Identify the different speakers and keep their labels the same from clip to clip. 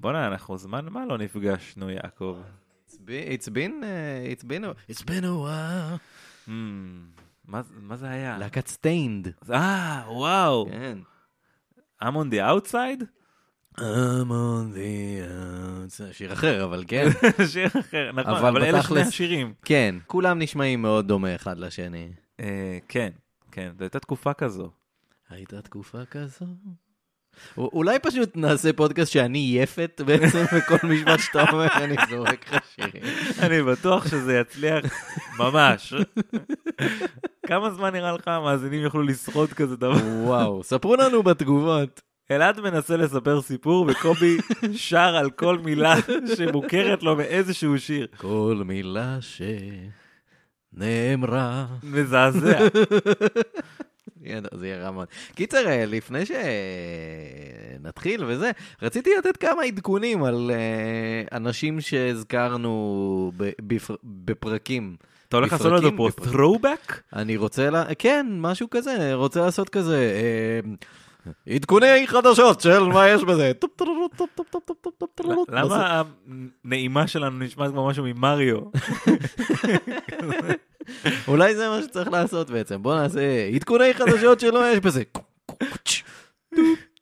Speaker 1: בואנה, אנחנו זמן מה לא נפגשנו, יעקב.
Speaker 2: It's been, it's been, uh, it's been, a- it's been a while.
Speaker 1: Hmm, מה זה- מה זה היה?
Speaker 2: להקת סטיינד.
Speaker 1: אה, וואו.
Speaker 2: כן.
Speaker 1: I'm on the outside?
Speaker 2: I'm on the outside. שיר אחר, אבל כן.
Speaker 1: שיר אחר, נכון,
Speaker 2: אבל
Speaker 1: אבל אלה שני
Speaker 2: בתכלס-
Speaker 1: השירים.
Speaker 2: כן, כולם נשמעים מאוד דומה אחד לשני.
Speaker 1: אה, כן, כן, זו הייתה תקופה כזו.
Speaker 2: הייתה תקופה כזו? א- אולי פשוט נעשה פודקאסט שאני יפת בעצם, וכל משפט שאתה אומר אני זורק לך שירים.
Speaker 1: אני בטוח שזה יצליח ממש. כמה זמן נראה לך המאזינים יוכלו לשרוד כזה דבר?
Speaker 2: וואו, ספרו לנו בתגובות.
Speaker 1: אלעד מנסה לספר סיפור וקובי שר על כל מילה שמוכרת לו מאיזשהו שיר.
Speaker 2: כל מילה שנאמרה.
Speaker 1: מזעזע.
Speaker 2: יהיה- זה יהיה רע מאוד. קיצר, אה, לפני שנתחיל וזה, רציתי לתת כמה עדכונים על אה, אנשים שהזכרנו ב- בפר- בפרקים.
Speaker 1: אתה הולך לעשות לנו
Speaker 2: בפרקים,
Speaker 1: פה
Speaker 2: בפרקים.
Speaker 1: throwback?
Speaker 2: אני רוצה, לה... כן, משהו כזה, רוצה לעשות כזה, אה, עדכוני חדשות של מה יש בזה. טופ, טרלוט, טופ, טופ, טופ, טופ, טופ, טרלוט. לעשות-
Speaker 1: למה הנעימה שלנו נשמעת כמו משהו ממריו?
Speaker 2: אולי זה מה שצריך לעשות בעצם, בוא נעשה עדכוני חדשות של מה יש בזה. טופ,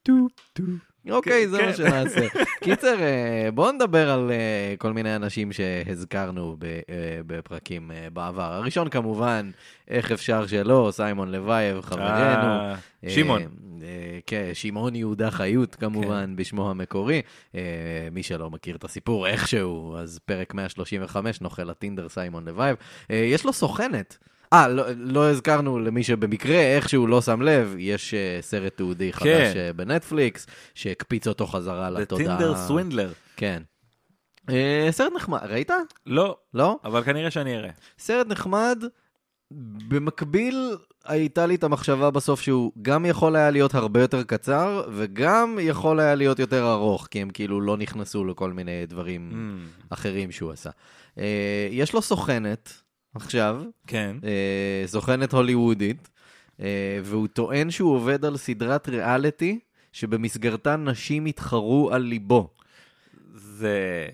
Speaker 2: טופ, טופ. אוקיי,
Speaker 1: כן,
Speaker 2: זה מה
Speaker 1: כן.
Speaker 2: שנעשה. קיצר, אה, בואו נדבר על אה, כל מיני אנשים שהזכרנו ב- אה, בפרקים אה, בעבר. הראשון כמובן, איך אפשר שלא, סיימון לוייב, חברנו.
Speaker 1: אה, שמעון. כן.
Speaker 2: אה, אה, כן, שמעון יהודה חיות כמובן בשמו המקורי. אה, מי שלא מכיר את הסיפור איכשהו, אז פרק 135, נוכל הטינדר סיימון לוייב. אה, יש לו סוכנת. אה, לא, לא הזכרנו למי שבמקרה איכשהו לא שם לב, יש אה, סרט תיעודי חדש
Speaker 1: כן.
Speaker 2: אה, בנטפליקס, שהקפיץ אותו חזרה
Speaker 1: The
Speaker 2: לתודעה.
Speaker 1: Tinder Swindler.
Speaker 2: כן. אה, סרט נחמד, ראית?
Speaker 1: לא,
Speaker 2: לא?
Speaker 1: אבל כנראה שאני אראה.
Speaker 2: סרט נחמד, במקביל הייתה לי את המחשבה בסוף שהוא גם יכול היה להיות הרבה יותר קצר, וגם יכול היה להיות יותר ארוך, כי הם כאילו לא נכנסו לכל מיני דברים
Speaker 1: Hmm,
Speaker 2: אחרים שהוא עשה. אה, יש לו סוכנת עכשיו,
Speaker 1: כן.
Speaker 2: אה, סוכנת הוליוודית, אה, והוא טוען שהוא עובד על סדרת ריאליטי. שבמסגרתה נשים יתחרו על ליבו.
Speaker 1: זה...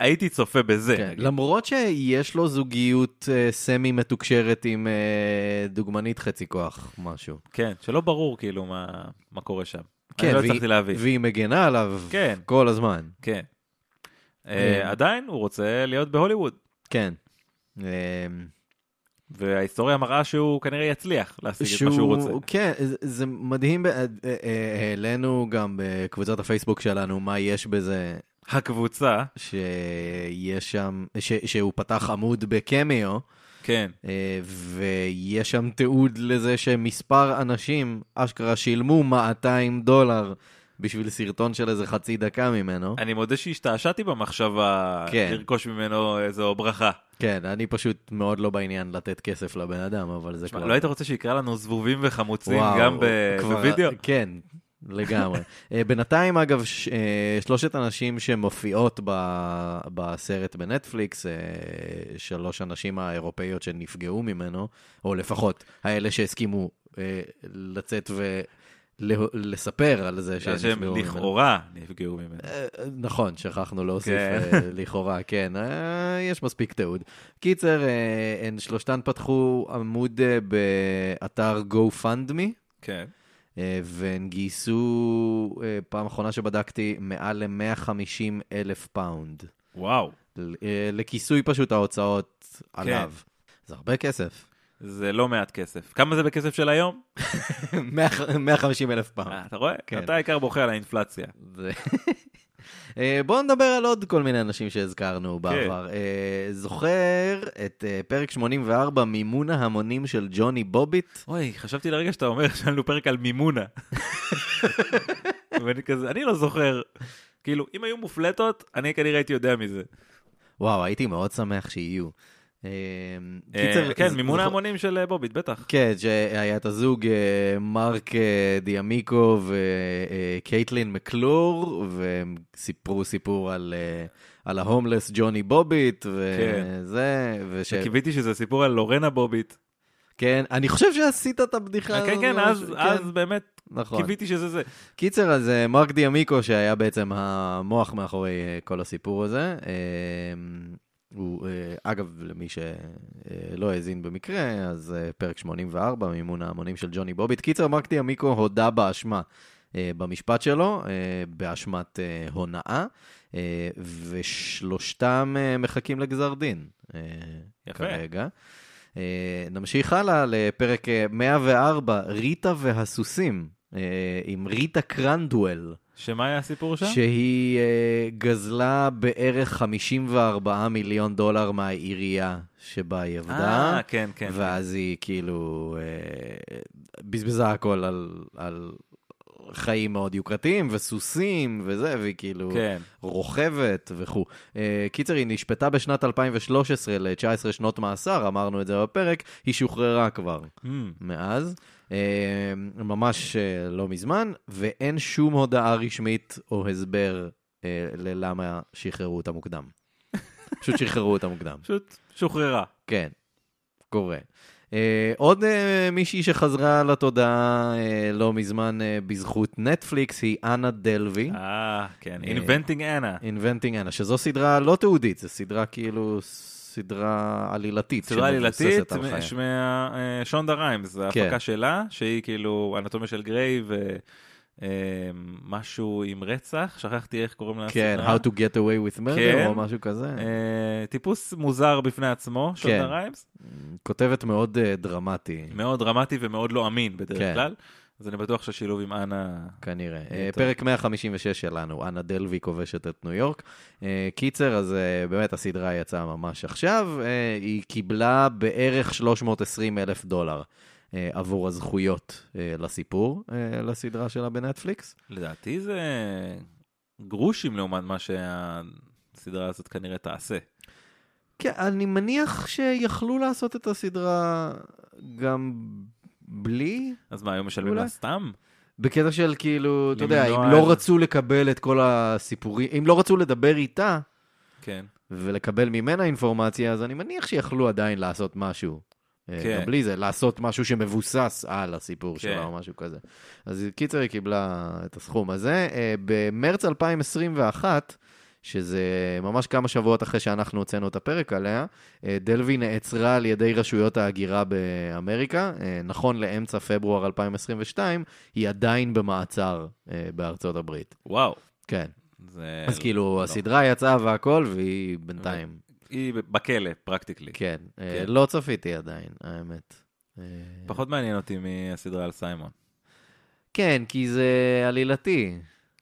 Speaker 1: הייתי צופה בזה.
Speaker 2: כן,
Speaker 1: נגיד.
Speaker 2: למרות שיש לו זוגיות אה, סמי מתוקשרת עם אה, דוגמנית חצי כוח, משהו.
Speaker 1: כן, שלא ברור כאילו מה, מה קורה שם.
Speaker 2: כן,
Speaker 1: אני לא
Speaker 2: והיא-
Speaker 1: הצלחתי להבין.
Speaker 2: והיא מגנה עליו
Speaker 1: כן.
Speaker 2: כל הזמן.
Speaker 1: כן. אה, עדיין הוא רוצה להיות בהוליווד,
Speaker 2: כן. אה,
Speaker 1: וההיסטוריה מראה שהוא כנראה יצליח להשיג את מה שהוא רוצה.
Speaker 2: כן, זה- זה מדהים, ב- אה, אה, אה, העלינו גם בקבוצת הפייסבוק שלנו מה יש בזה
Speaker 1: הקבוצה,
Speaker 2: שיש שם, ש, שהוא פתח עמוד בקמיו,
Speaker 1: כן,
Speaker 2: אה, ויש שם תיעוד לזה שמספר אנשים אשכרה שילמו 200 דולר בשביל סרטון של איזה חצי דקה ממנו.
Speaker 1: אני מודה שהשתעשעתי במחשבה
Speaker 2: כן.
Speaker 1: לרכוש ממנו איזו ברכה.
Speaker 2: כן, אני פשוט מאוד לא בעניין לתת כסף לבן אדם, אבל זה
Speaker 1: תשמע,
Speaker 2: כבר...
Speaker 1: לא היית רוצה שיקרא לנו זבובים וחמוצים
Speaker 2: וואו,
Speaker 1: גם ב-
Speaker 2: כבר-
Speaker 1: בווידאו?
Speaker 2: כן, לגמרי. אה, בינתיים, אגב, ש- אה, שלושת הנשים שמופיעות ב- בסרט בנטפליקס, אה, שלוש הנשים האירופאיות שנפגעו ממנו, או לפחות האלה שהסכימו אה, לצאת ולספר על זה
Speaker 1: בגלל
Speaker 2: שהם
Speaker 1: שהם
Speaker 2: נפגעו ממנו.
Speaker 1: לכאורה נפגעו ממנו.
Speaker 2: אה, נכון, שכחנו להוסיף
Speaker 1: כן.
Speaker 2: אה, לכאורה, כן, אה, יש מספיק תיעוד. קיצר, אה, הן שלושתן פתחו עמוד אה, באתר GoFundMe,
Speaker 1: כן.
Speaker 2: אה, והן גייסו, אה, פעם אחרונה שבדקתי, מעל ל-150 אלף פאונד.
Speaker 1: וואו.
Speaker 2: ל- אה, לכיסוי פשוט ההוצאות עליו.
Speaker 1: כן.
Speaker 2: זה הרבה כסף.
Speaker 1: זה לא מעט כסף. כמה זה בכסף של היום?
Speaker 2: 150 אלף פאונד.
Speaker 1: אה, אתה רואה?
Speaker 2: כן.
Speaker 1: אתה העיקר בוכה על האינפלציה.
Speaker 2: זה- אה, בואו נדבר על עוד כל מיני אנשים
Speaker 1: כן.
Speaker 2: שהזכרנו בעבר. אה, זוכר את אה, פרק 84, מימון ההמונים של ג'וני בוביט?
Speaker 1: אוי, חשבתי לרגע שאתה אומר שהיה לנו פרק על מימונה. ואני כזה, אני לא זוכר. כאילו, אם היו מופלטות, אני כנראה הייתי יודע מזה.
Speaker 2: וואו, הייתי מאוד שמח שיהיו. אה,
Speaker 1: אה,
Speaker 2: קיצר,
Speaker 1: כן,
Speaker 2: ז-
Speaker 1: מימון
Speaker 2: זוכ-
Speaker 1: ההמונים של אה, בוביט, בטח.
Speaker 2: כן, שהיה את הזוג אה, מרק אה, דיאמיקו וקייטלין מקלור, והם סיפרו סיפור על, אה, על ההומלס ג'וני בוביט,
Speaker 1: כן.
Speaker 2: וזה, וש...
Speaker 1: קיוויתי שזה סיפור על לורנה בוביט.
Speaker 2: כן, אני חושב שעשית את הבדיחה הזאת.
Speaker 1: כן, כן,
Speaker 2: ממש,
Speaker 1: אז- אז באמת
Speaker 2: נכון.
Speaker 1: קיוויתי שזה זה.
Speaker 2: קיצר, אז אה, מרק דיאמיקו, שהיה בעצם המוח מאחורי אה, כל הסיפור הזה, אה, הוא, אה, אגב, למי שלא האזין במקרה, אז אה, פרק 84, מימון ההמונים של ג'וני בוביט. קיצר, מרק דיאמיקו הודה באשמה אה, במשפט שלו, אה, באשמת אה, הונאה, אה, ושלושתם אה, מחכים לגזר דין. אה,
Speaker 1: יפה.
Speaker 2: כרגע. אה, נמשיך הלאה לפרק אה, 104, ריטה והסוסים, אה, עם ריטה קרנדואל,
Speaker 1: שמה היה הסיפור שם?
Speaker 2: שהיא אה, גזלה בערך 54 מיליון דולר מהעירייה שבה היא עבדה.
Speaker 1: אה, כן, כן.
Speaker 2: ואז היא כאילו אה, בזבזה הכל על, על חיים מאוד יוקרתיים וסוסים וזה, והיא כאילו...
Speaker 1: כן.
Speaker 2: רוכבת וכו'. אה, קיצר, היא נשפטה בשנת 2013 ל-19 שנות מאסר, אמרנו את זה בפרק, היא שוחררה כבר
Speaker 1: Hmm.
Speaker 2: מאז, אה, ממש אה, לא מזמן, ואין שום הודעה רשמית או הסבר אה, ללמה שחררו אותה מוקדם. פשוט שחררו אותה מוקדם,
Speaker 1: פשוט שוחררה.
Speaker 2: כן, קורה. אה, עוד אה, מישהי שחזרה לתודעה אה, לא מזמן אה, בזכות נטפליקס היא אנה דלווי.
Speaker 1: אה, כן.
Speaker 2: אה,
Speaker 1: Inventing Anna.
Speaker 2: Inventing Anna, שזו סדרה לא תיעודית, זו סדרה כאילו, סדרה עלילתית.
Speaker 1: סדרה עלילתית
Speaker 2: שמבוססת על חייה.
Speaker 1: משונדה אה, ריימס, זו
Speaker 2: כן.
Speaker 1: ההפקה שלה, שהיא כאילו אנטומיה של גריי ומשהו עם רצח, שכחתי איך קוראים לה.
Speaker 2: כן,
Speaker 1: הסדרה.
Speaker 2: How to get away with murder
Speaker 1: אה. כן.
Speaker 2: או משהו כזה.
Speaker 1: אה, טיפוס מוזר בפני עצמו, שונדה
Speaker 2: כן.
Speaker 1: ריימס.
Speaker 2: כותבת מאוד אה, דרמטי,
Speaker 1: מאוד דרמטי ומאוד לא אמין
Speaker 2: כן.
Speaker 1: בדרך כלל. אז אני בטוח שהשילוב עם אנה...
Speaker 2: כנראה. אה,
Speaker 1: אה, טוב.
Speaker 2: פרק 156 שלנו, אנה דלווי כובשת את ניו יורק. אה, קיצר, אז אה, באמת הסדרה יצאה ממש עכשיו. אה, היא קיבלה בערך 320 אלף דולר. אה, עבור הזכויות אה, לסיפור, אה, לסדרה שלה בנטפליקס.
Speaker 1: לדעתי זה גרושים לעומת מה שהסדרה הזאת כנראה תעשה.
Speaker 2: כן, אני מניח שיכלו לעשות את הסדרה גם בלי,
Speaker 1: אז מה, היו משלמים
Speaker 2: אולי.
Speaker 1: לה סתם?
Speaker 2: בקטע של כאילו, אתה יודע,
Speaker 1: למנוע
Speaker 2: אם לא
Speaker 1: איזה-
Speaker 2: רצו לקבל את כל הסיפורים, אם לא רצו לדבר איתה
Speaker 1: כן.
Speaker 2: ולקבל ממנה אינפורמציה, אז אני מניח שיכלו עדיין לעשות משהו. אה,
Speaker 1: כן.
Speaker 2: גם בלי זה, לעשות משהו שמבוסס על הסיפור
Speaker 1: כן.
Speaker 2: שלה או משהו כזה. אז קיצר, היא קיבלה את הסכום הזה. אה, במרץ 2021, שזה ממש כמה שבועות אחרי שאנחנו הוצאנו את הפרק עליה, אה, דלווי נעצרה על ידי רשויות ההגירה באמריקה. אה, נכון לאמצע פברואר 2022, היא עדיין במעצר אה, בארצות הברית.
Speaker 1: וואו.
Speaker 2: כן.
Speaker 1: זה...
Speaker 2: אז
Speaker 1: לא.
Speaker 2: כאילו, הסדרה יצאה והכל, והיא בינתיים
Speaker 1: היא בכלא, פרקטיקלי.
Speaker 2: כן, אה,
Speaker 1: כן.
Speaker 2: לא צפיתי עדיין, האמת. אה,
Speaker 1: פחות מעניין אותי מהסדרה על סיימון.
Speaker 2: כן, כי זה עלילתי.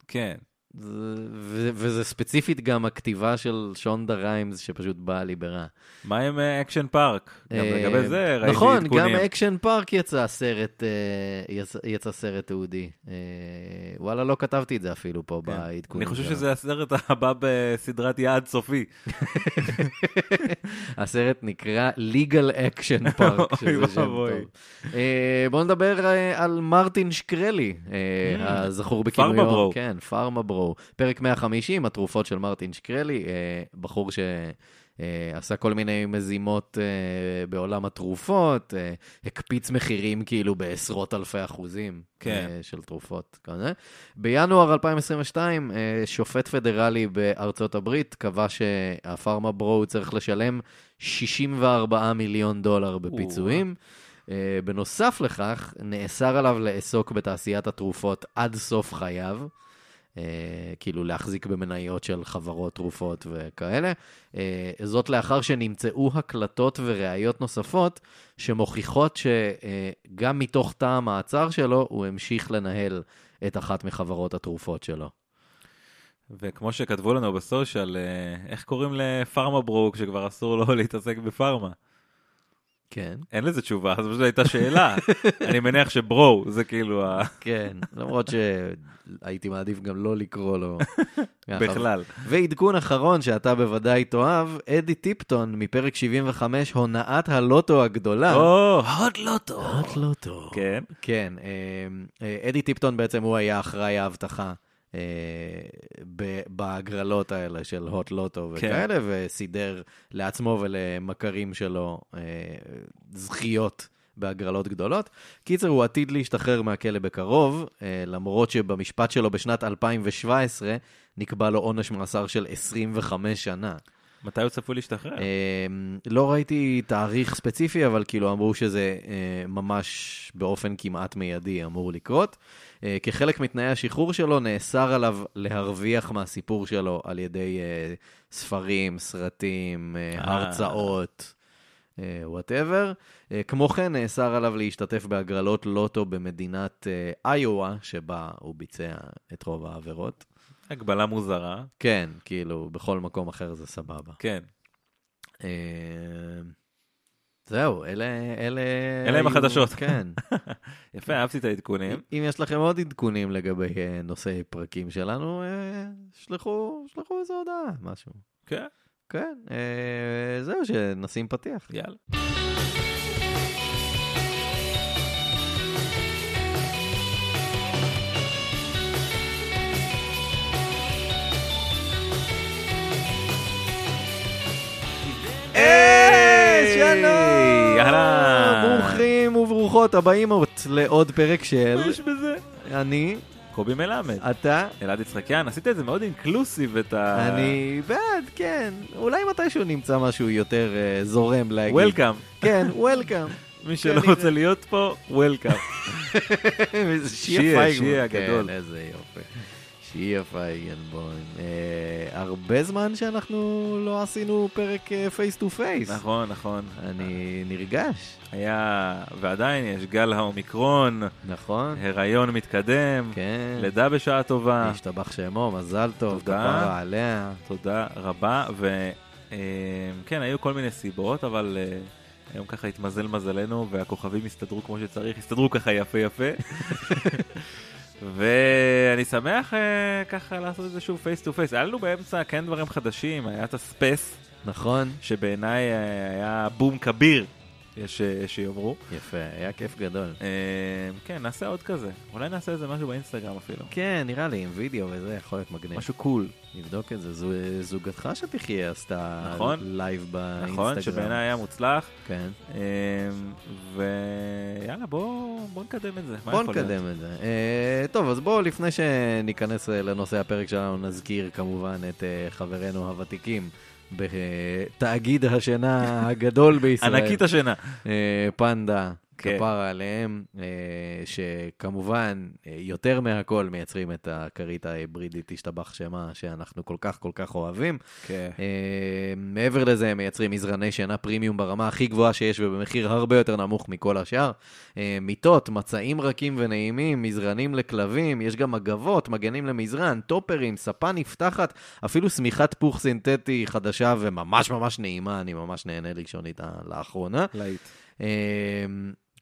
Speaker 1: כן.
Speaker 2: זה- ו- וזה ספציפית גם הכתיבה של שונדה ריימס, שפשוט באה לי ברע.
Speaker 1: מה עם אה, אקשן פארק? גם
Speaker 2: אה,
Speaker 1: לגבי זה ראיתי
Speaker 2: נכון,
Speaker 1: עדכונים.
Speaker 2: גם אקשן פארק יצא סרט, אה, יצא- יצא סרט תיעודי. אה, וואלה, לא כתבתי את זה אפילו פה
Speaker 1: כן. אני
Speaker 2: בעדכונים.
Speaker 1: חושב
Speaker 2: שלנו.
Speaker 1: שזה הסרט הבא בסדרת יעד סופי.
Speaker 2: הסרט נקרא Legal Action Park,
Speaker 1: אוי
Speaker 2: שזה שם טוב.
Speaker 1: ואבוי.
Speaker 2: אה, בואו נדבר אה, על מרטין שקרלי, אה,
Speaker 1: Mm.
Speaker 2: הזכור
Speaker 1: פארמה
Speaker 2: בכינויו.
Speaker 1: ברו.
Speaker 2: כן, פארמה ברו. פרק 150, התרופות של מרטין שקרלי, אה, בחור ש... אה, עשה כל מיני מזימות אה, בעולם התרופות, אה, הקפיץ מחירים כאילו בעשרות אלפי אחוזים
Speaker 1: כן.
Speaker 2: אה, של תרופות. כזה. בינואר 2022, אה, שופט פדרלי בארצות הברית קבע שהפארמה ברו צריך לשלם 64 מיליון דולר בפיצויים. אה, בנוסף לכך, נאסר עליו לעסוק בתעשיית התרופות עד סוף חייו. אה, כאילו להחזיק במניות של חברות תרופות וכאלה. אה, זאת לאחר שנמצאו הקלטות וראיות נוספות שמוכיחות שגם מתוך תא המעצר שלו, הוא המשיך לנהל את אחת מחברות התרופות שלו.
Speaker 1: וכמו שכתבו לנו בסושיאל, אה, איך קוראים לפארמה ברוק שכבר אסור לו להתעסק בפארמה?
Speaker 2: כן.
Speaker 1: אין לזה תשובה, זו פשוט הייתה שאלה. אני מניח שברו, זה כאילו ה-
Speaker 2: כן, למרות שהייתי מעדיף גם לא לקרוא לו. כן,
Speaker 1: בכלל.
Speaker 2: ועדכון אחרון שאתה בוודאי תאהב, אדי טיפטון מפרק 75, הונאת הלוטו הגדולה.
Speaker 1: או, הוד
Speaker 2: לא
Speaker 1: לוטו.
Speaker 2: הונאת לוטו.
Speaker 1: כן,
Speaker 2: כן, אה, אה, אדי טיפטון בעצם הוא היה אחראי האבטחה אה, ב- בהגרלות האלה של הוט לוטו
Speaker 1: כן.
Speaker 2: וכאלה, וסידר לעצמו ולמכרים שלו אה, זכיות בהגרלות גדולות. קיצר, הוא עתיד להשתחרר מהכלא בקרוב, אה, למרות שבמשפט שלו בשנת 2017 נקבע לו עונש מאסר של 25 שנה.
Speaker 1: מתי הוא צפוי להשתחרר?
Speaker 2: אה, לא ראיתי תאריך ספציפי, אבל כאילו אמרו שזה אה, ממש באופן כמעט מיידי אמור לקרות. אה, כחלק מתנאי השחרור שלו, נאסר עליו להרוויח מהסיפור שלו על ידי אה, ספרים, סרטים, אה,
Speaker 1: אה.
Speaker 2: הרצאות. וואטאבר. כמו כן, נאסר עליו להשתתף בהגרלות לוטו במדינת אה, איואה, שבה הוא ביצע את רוב העבירות.
Speaker 1: הגבלה מוזרה,
Speaker 2: כן, כאילו, בכל מקום אחר זה סבבה.
Speaker 1: כן.
Speaker 2: אה, זהו, אלה... אלה
Speaker 1: אלה הם
Speaker 2: היו-
Speaker 1: החדשות. כן.
Speaker 2: כן.
Speaker 1: יפה,
Speaker 2: אה.
Speaker 1: אהבתי את העדכונים.
Speaker 2: אם יש לכם עוד עדכונים לגבי אה, נושאי פרקים שלנו, אה, שלחו שלחו איזו הודעה, משהו.
Speaker 1: כן,
Speaker 2: כן, אה, זהו, שנשים פתיח.
Speaker 1: יאללה.
Speaker 2: אה, שלום!
Speaker 1: יאללה.
Speaker 2: ברוכים וברוכות הבאים לעוד פרק של
Speaker 1: מה יש בזה?
Speaker 2: אני,
Speaker 1: קובי מלמד.
Speaker 2: אתה,
Speaker 1: אלעד יצחקיאן, עשית את זה מאוד אינקלוסיב את ה...
Speaker 2: אני בעד, כן. אולי מתישהו נמצא משהו יותר אה, זורם להגיד.
Speaker 1: Welcome.
Speaker 2: כן, וולקאם.
Speaker 1: מי שלא
Speaker 2: כנראה.
Speaker 1: רוצה להיות פה, Welcome. שיהיה, שיהיה הגדול.
Speaker 2: כן, איזה יופי. שיהיה פייגנבוים. אה, הרבה זמן שאנחנו לא עשינו פרק אה, פייס טו פייס.
Speaker 1: נכון, נכון.
Speaker 2: אני נרגש,
Speaker 1: היה, ועדיין יש גל האומיקרון,
Speaker 2: נכון?
Speaker 1: הריון מתקדם,
Speaker 2: כן.
Speaker 1: לידה בשעה טובה.
Speaker 2: השתבח שמו, מזל טוב,
Speaker 1: תודה.
Speaker 2: כפרה עליה.
Speaker 1: תודה רבה, וכן, היו כל מיני סיבות, אבל אה, היום ככה התמזל מזלנו, והכוכבים הסתדרו כמו שצריך, הסתדרו ככה יפה יפה. ואני שמח אה, ככה לעשות את זה שוב פייס טו פייס. היה לנו באמצע כן דברים חדשים, היה את הספייס,
Speaker 2: נכון?
Speaker 1: שבעיניי אה, היה בום כביר, יש אה, שיאמרו.
Speaker 2: יפה, היה כיף גדול.
Speaker 1: אה, כן, נעשה עוד כזה. אולי נעשה איזה משהו באינסטגרם אפילו.
Speaker 2: כן, נראה לי, עם וידאו וזה יכול להיות מגניב.
Speaker 1: משהו קול.
Speaker 2: נבדוק את זה, זו, אה, זוגתך שתחיה עשתה
Speaker 1: נכון.
Speaker 2: לייב באינסטגרם.
Speaker 1: נכון? שבעיניי היה מוצלח.
Speaker 2: כן.
Speaker 1: אמ, ויאללה, בוא בוא נקדם את זה. מה
Speaker 2: בואו
Speaker 1: יכול להיות?
Speaker 2: נקדם את זה. אה, טוב, אז בואו, לפני שניכנס אה, לנושא הפרק שלנו, נזכיר כמובן את אה, חברינו הוותיקים בתאגיד השינה הגדול בישראל.
Speaker 1: ענקית השינה.
Speaker 2: אה, פנדה,
Speaker 1: כן.
Speaker 2: כפרה עליהם, אה, שכמובן, אה, יותר מהכל מייצרים את הכרית ההיברידית, השתבח שמה, שאנחנו כל כך כל כך אוהבים.
Speaker 1: כן.
Speaker 2: אה, מעבר לזה, הם מייצרים מזרני שינה פרימיום ברמה הכי גבוהה שיש ובמחיר הרבה יותר נמוך מכל השאר. אה, מיטות, מצעים רכים ונעימים, מזרנים לכלבים, יש גם מגבות, מגנים למזרן, טופרים, ספה נפתחת, אפילו שמיכת פוך סינתטי חדשה וממש ממש נעימה, אני ממש נהנה לישון איתה לאחרונה.
Speaker 1: להיט.
Speaker 2: אמ,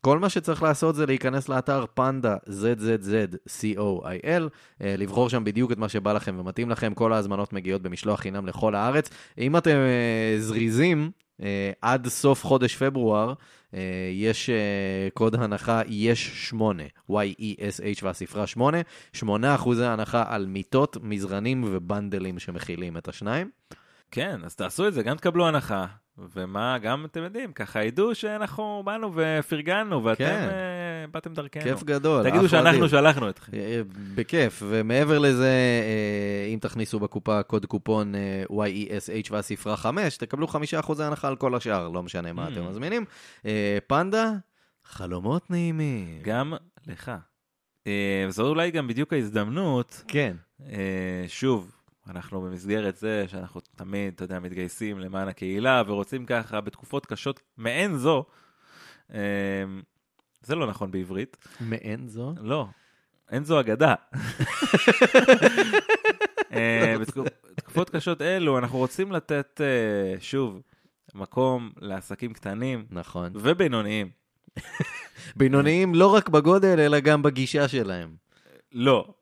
Speaker 2: כל מה שצריך לעשות זה להיכנס לאתר פנדה ZZZ.co.il, אה, לבחור שם בדיוק את מה שבא לכם ומתאים לכם, כל ההזמנות מגיעות במשלוח חינם לכל הארץ. אם אתם אה, זריזים, אה, עד סוף חודש פברואר, אה, יש אה, קוד הנחה יש 8, Y-E-S-H והספרה 8, 8 אחוזי הנחה על מיטות, מזרנים ובנדלים שמכילים את השניים.
Speaker 1: כן, אז תעשו את זה, גם תקבלו הנחה. ומה, גם אתם יודעים, ככה ידעו שאנחנו באנו ופרגנו, ואתם
Speaker 2: כן.
Speaker 1: אה, באתם דרכנו.
Speaker 2: כיף גדול.
Speaker 1: תגידו
Speaker 2: אחלה דיל.
Speaker 1: שאנחנו שלחנו אתכם.
Speaker 2: אה, בכיף, ומעבר לזה, אה, אם תכניסו בקופה קוד קופון אה, YESH והספרה 5, תקבלו 5% הנחה על כל השאר, לא משנה מה
Speaker 1: Mm.
Speaker 2: אתם מזמינים. אה, פנדה, חלומות נעימים.
Speaker 1: גם לך. אה, זו אולי גם בדיוק ההזדמנות,
Speaker 2: כן,
Speaker 1: אה, שוב, אנחנו במסגרת זה שאנחנו תמיד, אתה יודע, מתגייסים למען הקהילה ורוצים ככה בתקופות קשות מעין זו. אה, זה לא נכון בעברית.
Speaker 2: מעין זו.
Speaker 1: לא, אין זו אגדה. אה, בתקופ- בתקופות קשות אלו אנחנו רוצים לתת, אה, שוב, מקום לעסקים קטנים
Speaker 2: נכון.
Speaker 1: ובינוניים.
Speaker 2: בינוניים לא רק בגודל, אלא גם בגישה שלהם.
Speaker 1: לא.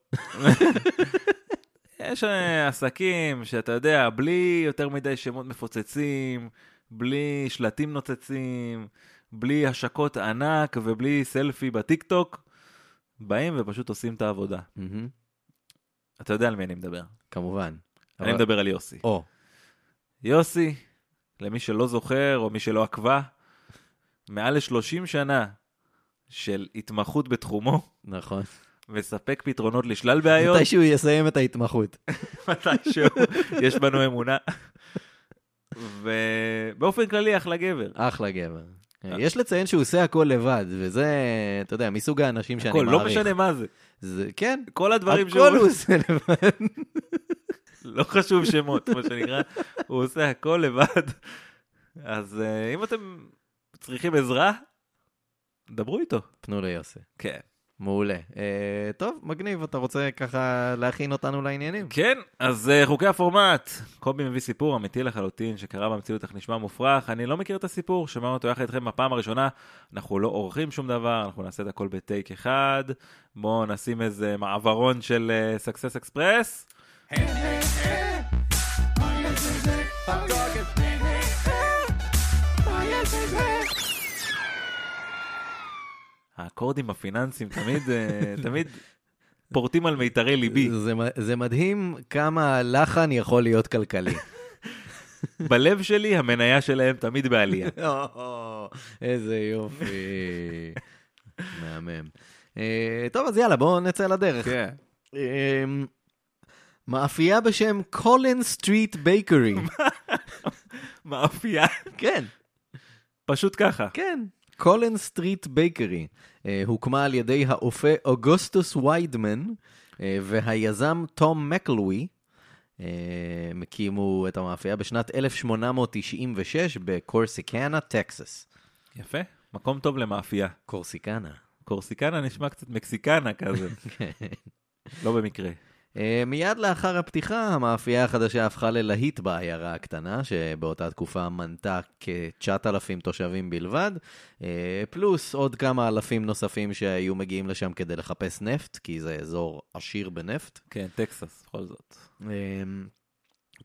Speaker 1: יש אה, עסקים שאתה יודע, בלי יותר מדי שמות מפוצצים, בלי שלטים נוצצים, בלי השקות ענק ובלי סלפי בטיקטוק, באים ופשוט עושים את העבודה.
Speaker 2: מהמם,
Speaker 1: אתה יודע על מי אני מדבר.
Speaker 2: כמובן.
Speaker 1: אני
Speaker 2: אבל-
Speaker 1: מדבר על יוסי.
Speaker 2: או,
Speaker 1: יוסי, למי שלא זוכר או מי שלא עקבה, מעל ל-30 שנה של התמחות בתחומו,
Speaker 2: נכון.
Speaker 1: מספק פתרונות לשלל בעיות,
Speaker 2: מתי שהוא יסיים את ההתמחות.
Speaker 1: מתישהו, יש בנו אמונה. ובאופן כללי, אחלה גבר.
Speaker 2: אחלה גבר.
Speaker 1: אה.
Speaker 2: יש לציין שהוא עושה הכל לבד, וזה, אתה יודע, מסוג האנשים שאני
Speaker 1: הכל,
Speaker 2: מעריך.
Speaker 1: לא משנה מה זה.
Speaker 2: זה, כן,
Speaker 1: כל הדברים שהוא...
Speaker 2: הכל הוא עושה לבד.
Speaker 1: לא חשוב שמות, מה שנקרא, הוא עושה הכל לבד. אז אה, אם אתם צריכים עזרה, דברו איתו.
Speaker 2: פנו ליוסי.
Speaker 1: כן.
Speaker 2: מעולה. אה, טוב, מגניב, אתה רוצה ככה להכין אותנו לעניינים?
Speaker 1: כן, אז אה, חוקי הפורמט. קובי מביא סיפור אמיתי לחלוטין שקרה במציאות אך נשמע מופרך. אני לא מכיר את הסיפור, שמענו אותו יחד איתכם בפעם הראשונה. אנחנו לא עורכים שום דבר, אנחנו נעשה את הכל בטייק אחד. בואו נשים איזה מעברון של אה, סקסס אקספרס. האקורדים הפיננסיים תמיד, אה, תמיד פורטים על מיתרי ליבי.
Speaker 2: זה, מ- זה מדהים כמה הלחן יכול להיות כלכלי.
Speaker 1: בלב שלי המניה שלהם תמיד בעלייה.
Speaker 2: או, איזה יופי. מהמם. אה, טוב, אז יאללה, בואו נצא לדרך.
Speaker 1: כן.
Speaker 2: אה, מאפייה בשם קולין סטריט בייקרי.
Speaker 1: מאפייה.
Speaker 2: כן.
Speaker 1: פשוט ככה.
Speaker 2: כן. קולן סטריט בייקרי אה, הוקמה על ידי האופה אוגוסטוס ויידמן אה, והיזם תום מקלווי. אה, הם הקימו את המאפייה בשנת 1896 בקורסיקנה, טקסס.
Speaker 1: יפה. מקום טוב למאפייה.
Speaker 2: קורסיקנה.
Speaker 1: קורסיקנה נשמע קצת מקסיקנה כזה. לא במקרה.
Speaker 2: אה, מיד לאחר הפתיחה, המאפייה החדשה הפכה ללהיט בעיירה הקטנה, שבאותה תקופה מנתה כ-9,000 תושבים בלבד, אה, פלוס עוד כמה אלפים נוספים שהיו מגיעים לשם כדי לחפש נפט, כי זה אזור עשיר בנפט.
Speaker 1: כן, טקסס, בכל זאת.
Speaker 2: אה,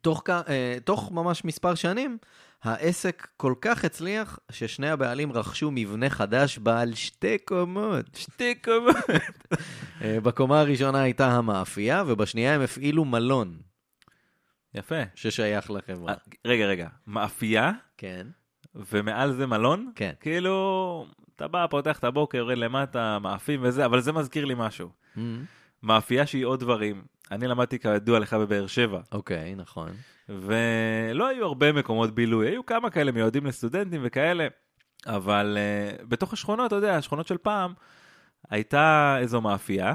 Speaker 2: תוך, כ- אה, תוך ממש מספר שנים, העסק כל כך הצליח, ששני הבעלים רכשו מבנה חדש בעל שתי קומות.
Speaker 1: שתי קומות.
Speaker 2: אה, בקומה הראשונה הייתה המאפייה, ובשנייה הם הפעילו מלון.
Speaker 1: יפה.
Speaker 2: ששייך לחברה.
Speaker 1: אה, רגע, רגע. מאפייה,
Speaker 2: כן.
Speaker 1: ומעל זה מלון?
Speaker 2: כן.
Speaker 1: כאילו, אתה בא, פותח את הבוקר, יורד למטה, מאפים וזה, אבל זה מזכיר לי משהו. Mm-hmm. מאפייה שהיא עוד דברים. אני למדתי כידוע לך בבאר שבע,
Speaker 2: אוקיי, נכון.
Speaker 1: ולא היו הרבה מקומות בילוי, היו כמה כאלה מיועדים לסטודנטים וכאלה, אבל uh, בתוך השכונות, אתה יודע, השכונות של פעם, הייתה איזו מאפייה,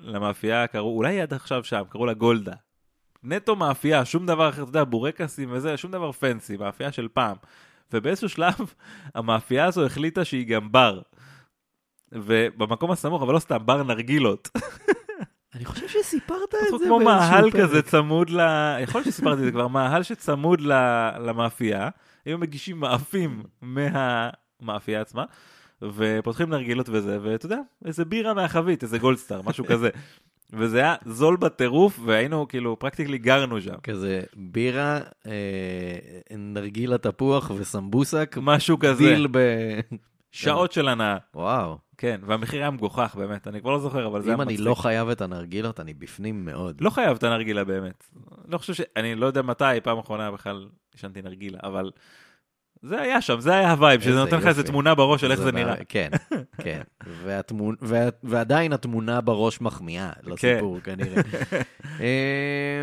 Speaker 1: למאפייה קראו, אולי היא עד עכשיו שם, קראו לה גולדה. נטו מאפייה, שום דבר אחר, אתה יודע, בורקסים וזה, שום דבר פנסי, מאפייה של פעם. ובאיזשהו שלב, המאפייה הזו החליטה שהיא גם בר. ובמקום הסמוך, אבל לא סתם, בר נרגילות.
Speaker 2: אני חושב שסיפרת
Speaker 1: פשוט כמו מאהל כזה צמוד ל... יכול להיות שסיפרתי את זה כבר, מאהל שצמוד ל- למאפייה, היו מגישים מאפים מהמאפייה עצמה, ופותחים נרגילות וזה, ואתה יודע, איזה בירה מהחבית, איזה גולדסטאר, משהו כזה. וזה היה זול בטירוף, והיינו כאילו, פרקטיקלי גרנו שם.
Speaker 2: כזה בירה, אה, נרגילה תפוח וסמבוסק,
Speaker 1: משהו כזה,
Speaker 2: דיל ב...
Speaker 1: שעות של הנאה.
Speaker 2: וואו,
Speaker 1: כן, והמחיר היה מגוחך באמת, אני כבר לא זוכר, אבל זה היה
Speaker 2: אם אני
Speaker 1: מצחיק.
Speaker 2: לא חייב את הנרגילות, אני בפנים מאוד.
Speaker 1: לא חייב את הנרגילה באמת. לא חושב ש... אני לא יודע מתי, פעם אחרונה בכלל עישנתי נרגילה, אבל זה היה שם, זה היה הווייב, שזה
Speaker 2: איזה
Speaker 1: נותן לך איזו
Speaker 2: יופי.
Speaker 1: תמונה בראש לא, של איך זה
Speaker 2: מה-
Speaker 1: נראה.
Speaker 2: כן, כן. והתמונ... וה... ועדיין התמונה בראש מחמיאה
Speaker 1: כן.
Speaker 2: לסיפור, כנראה.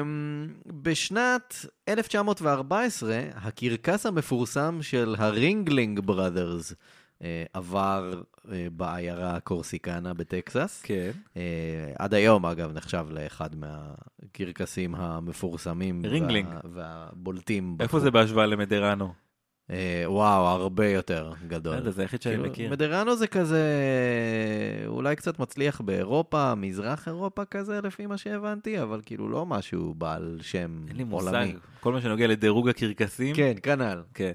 Speaker 2: אמ, בשנת 1914, הקרקס המפורסם של הרינגלינג בראדרס אה, עבר אה, בעיירה קורסיקנה בטקסס.
Speaker 1: כן.
Speaker 2: אה, עד היום, אגב, נחשב לאחד מהקרקסים המפורסמים.
Speaker 1: רינגלינג.
Speaker 2: וה- והבולטים.
Speaker 1: איפה
Speaker 2: בתחום.
Speaker 1: זה בהשוואה למדרנו?
Speaker 2: אה, וואו, הרבה יותר גדול.
Speaker 1: לא יודע, זה היחיד שאני
Speaker 2: כאילו,
Speaker 1: מכיר.
Speaker 2: מדרנו זה כזה, אולי קצת מצליח באירופה, מזרח אירופה כזה, לפי מה שהבנתי, אבל כאילו לא משהו בעל שם עולמי.
Speaker 1: אין לי מושג. כל מה שנוגע לדירוג הקרקסים.
Speaker 2: כן, כנ"ל.
Speaker 1: כן.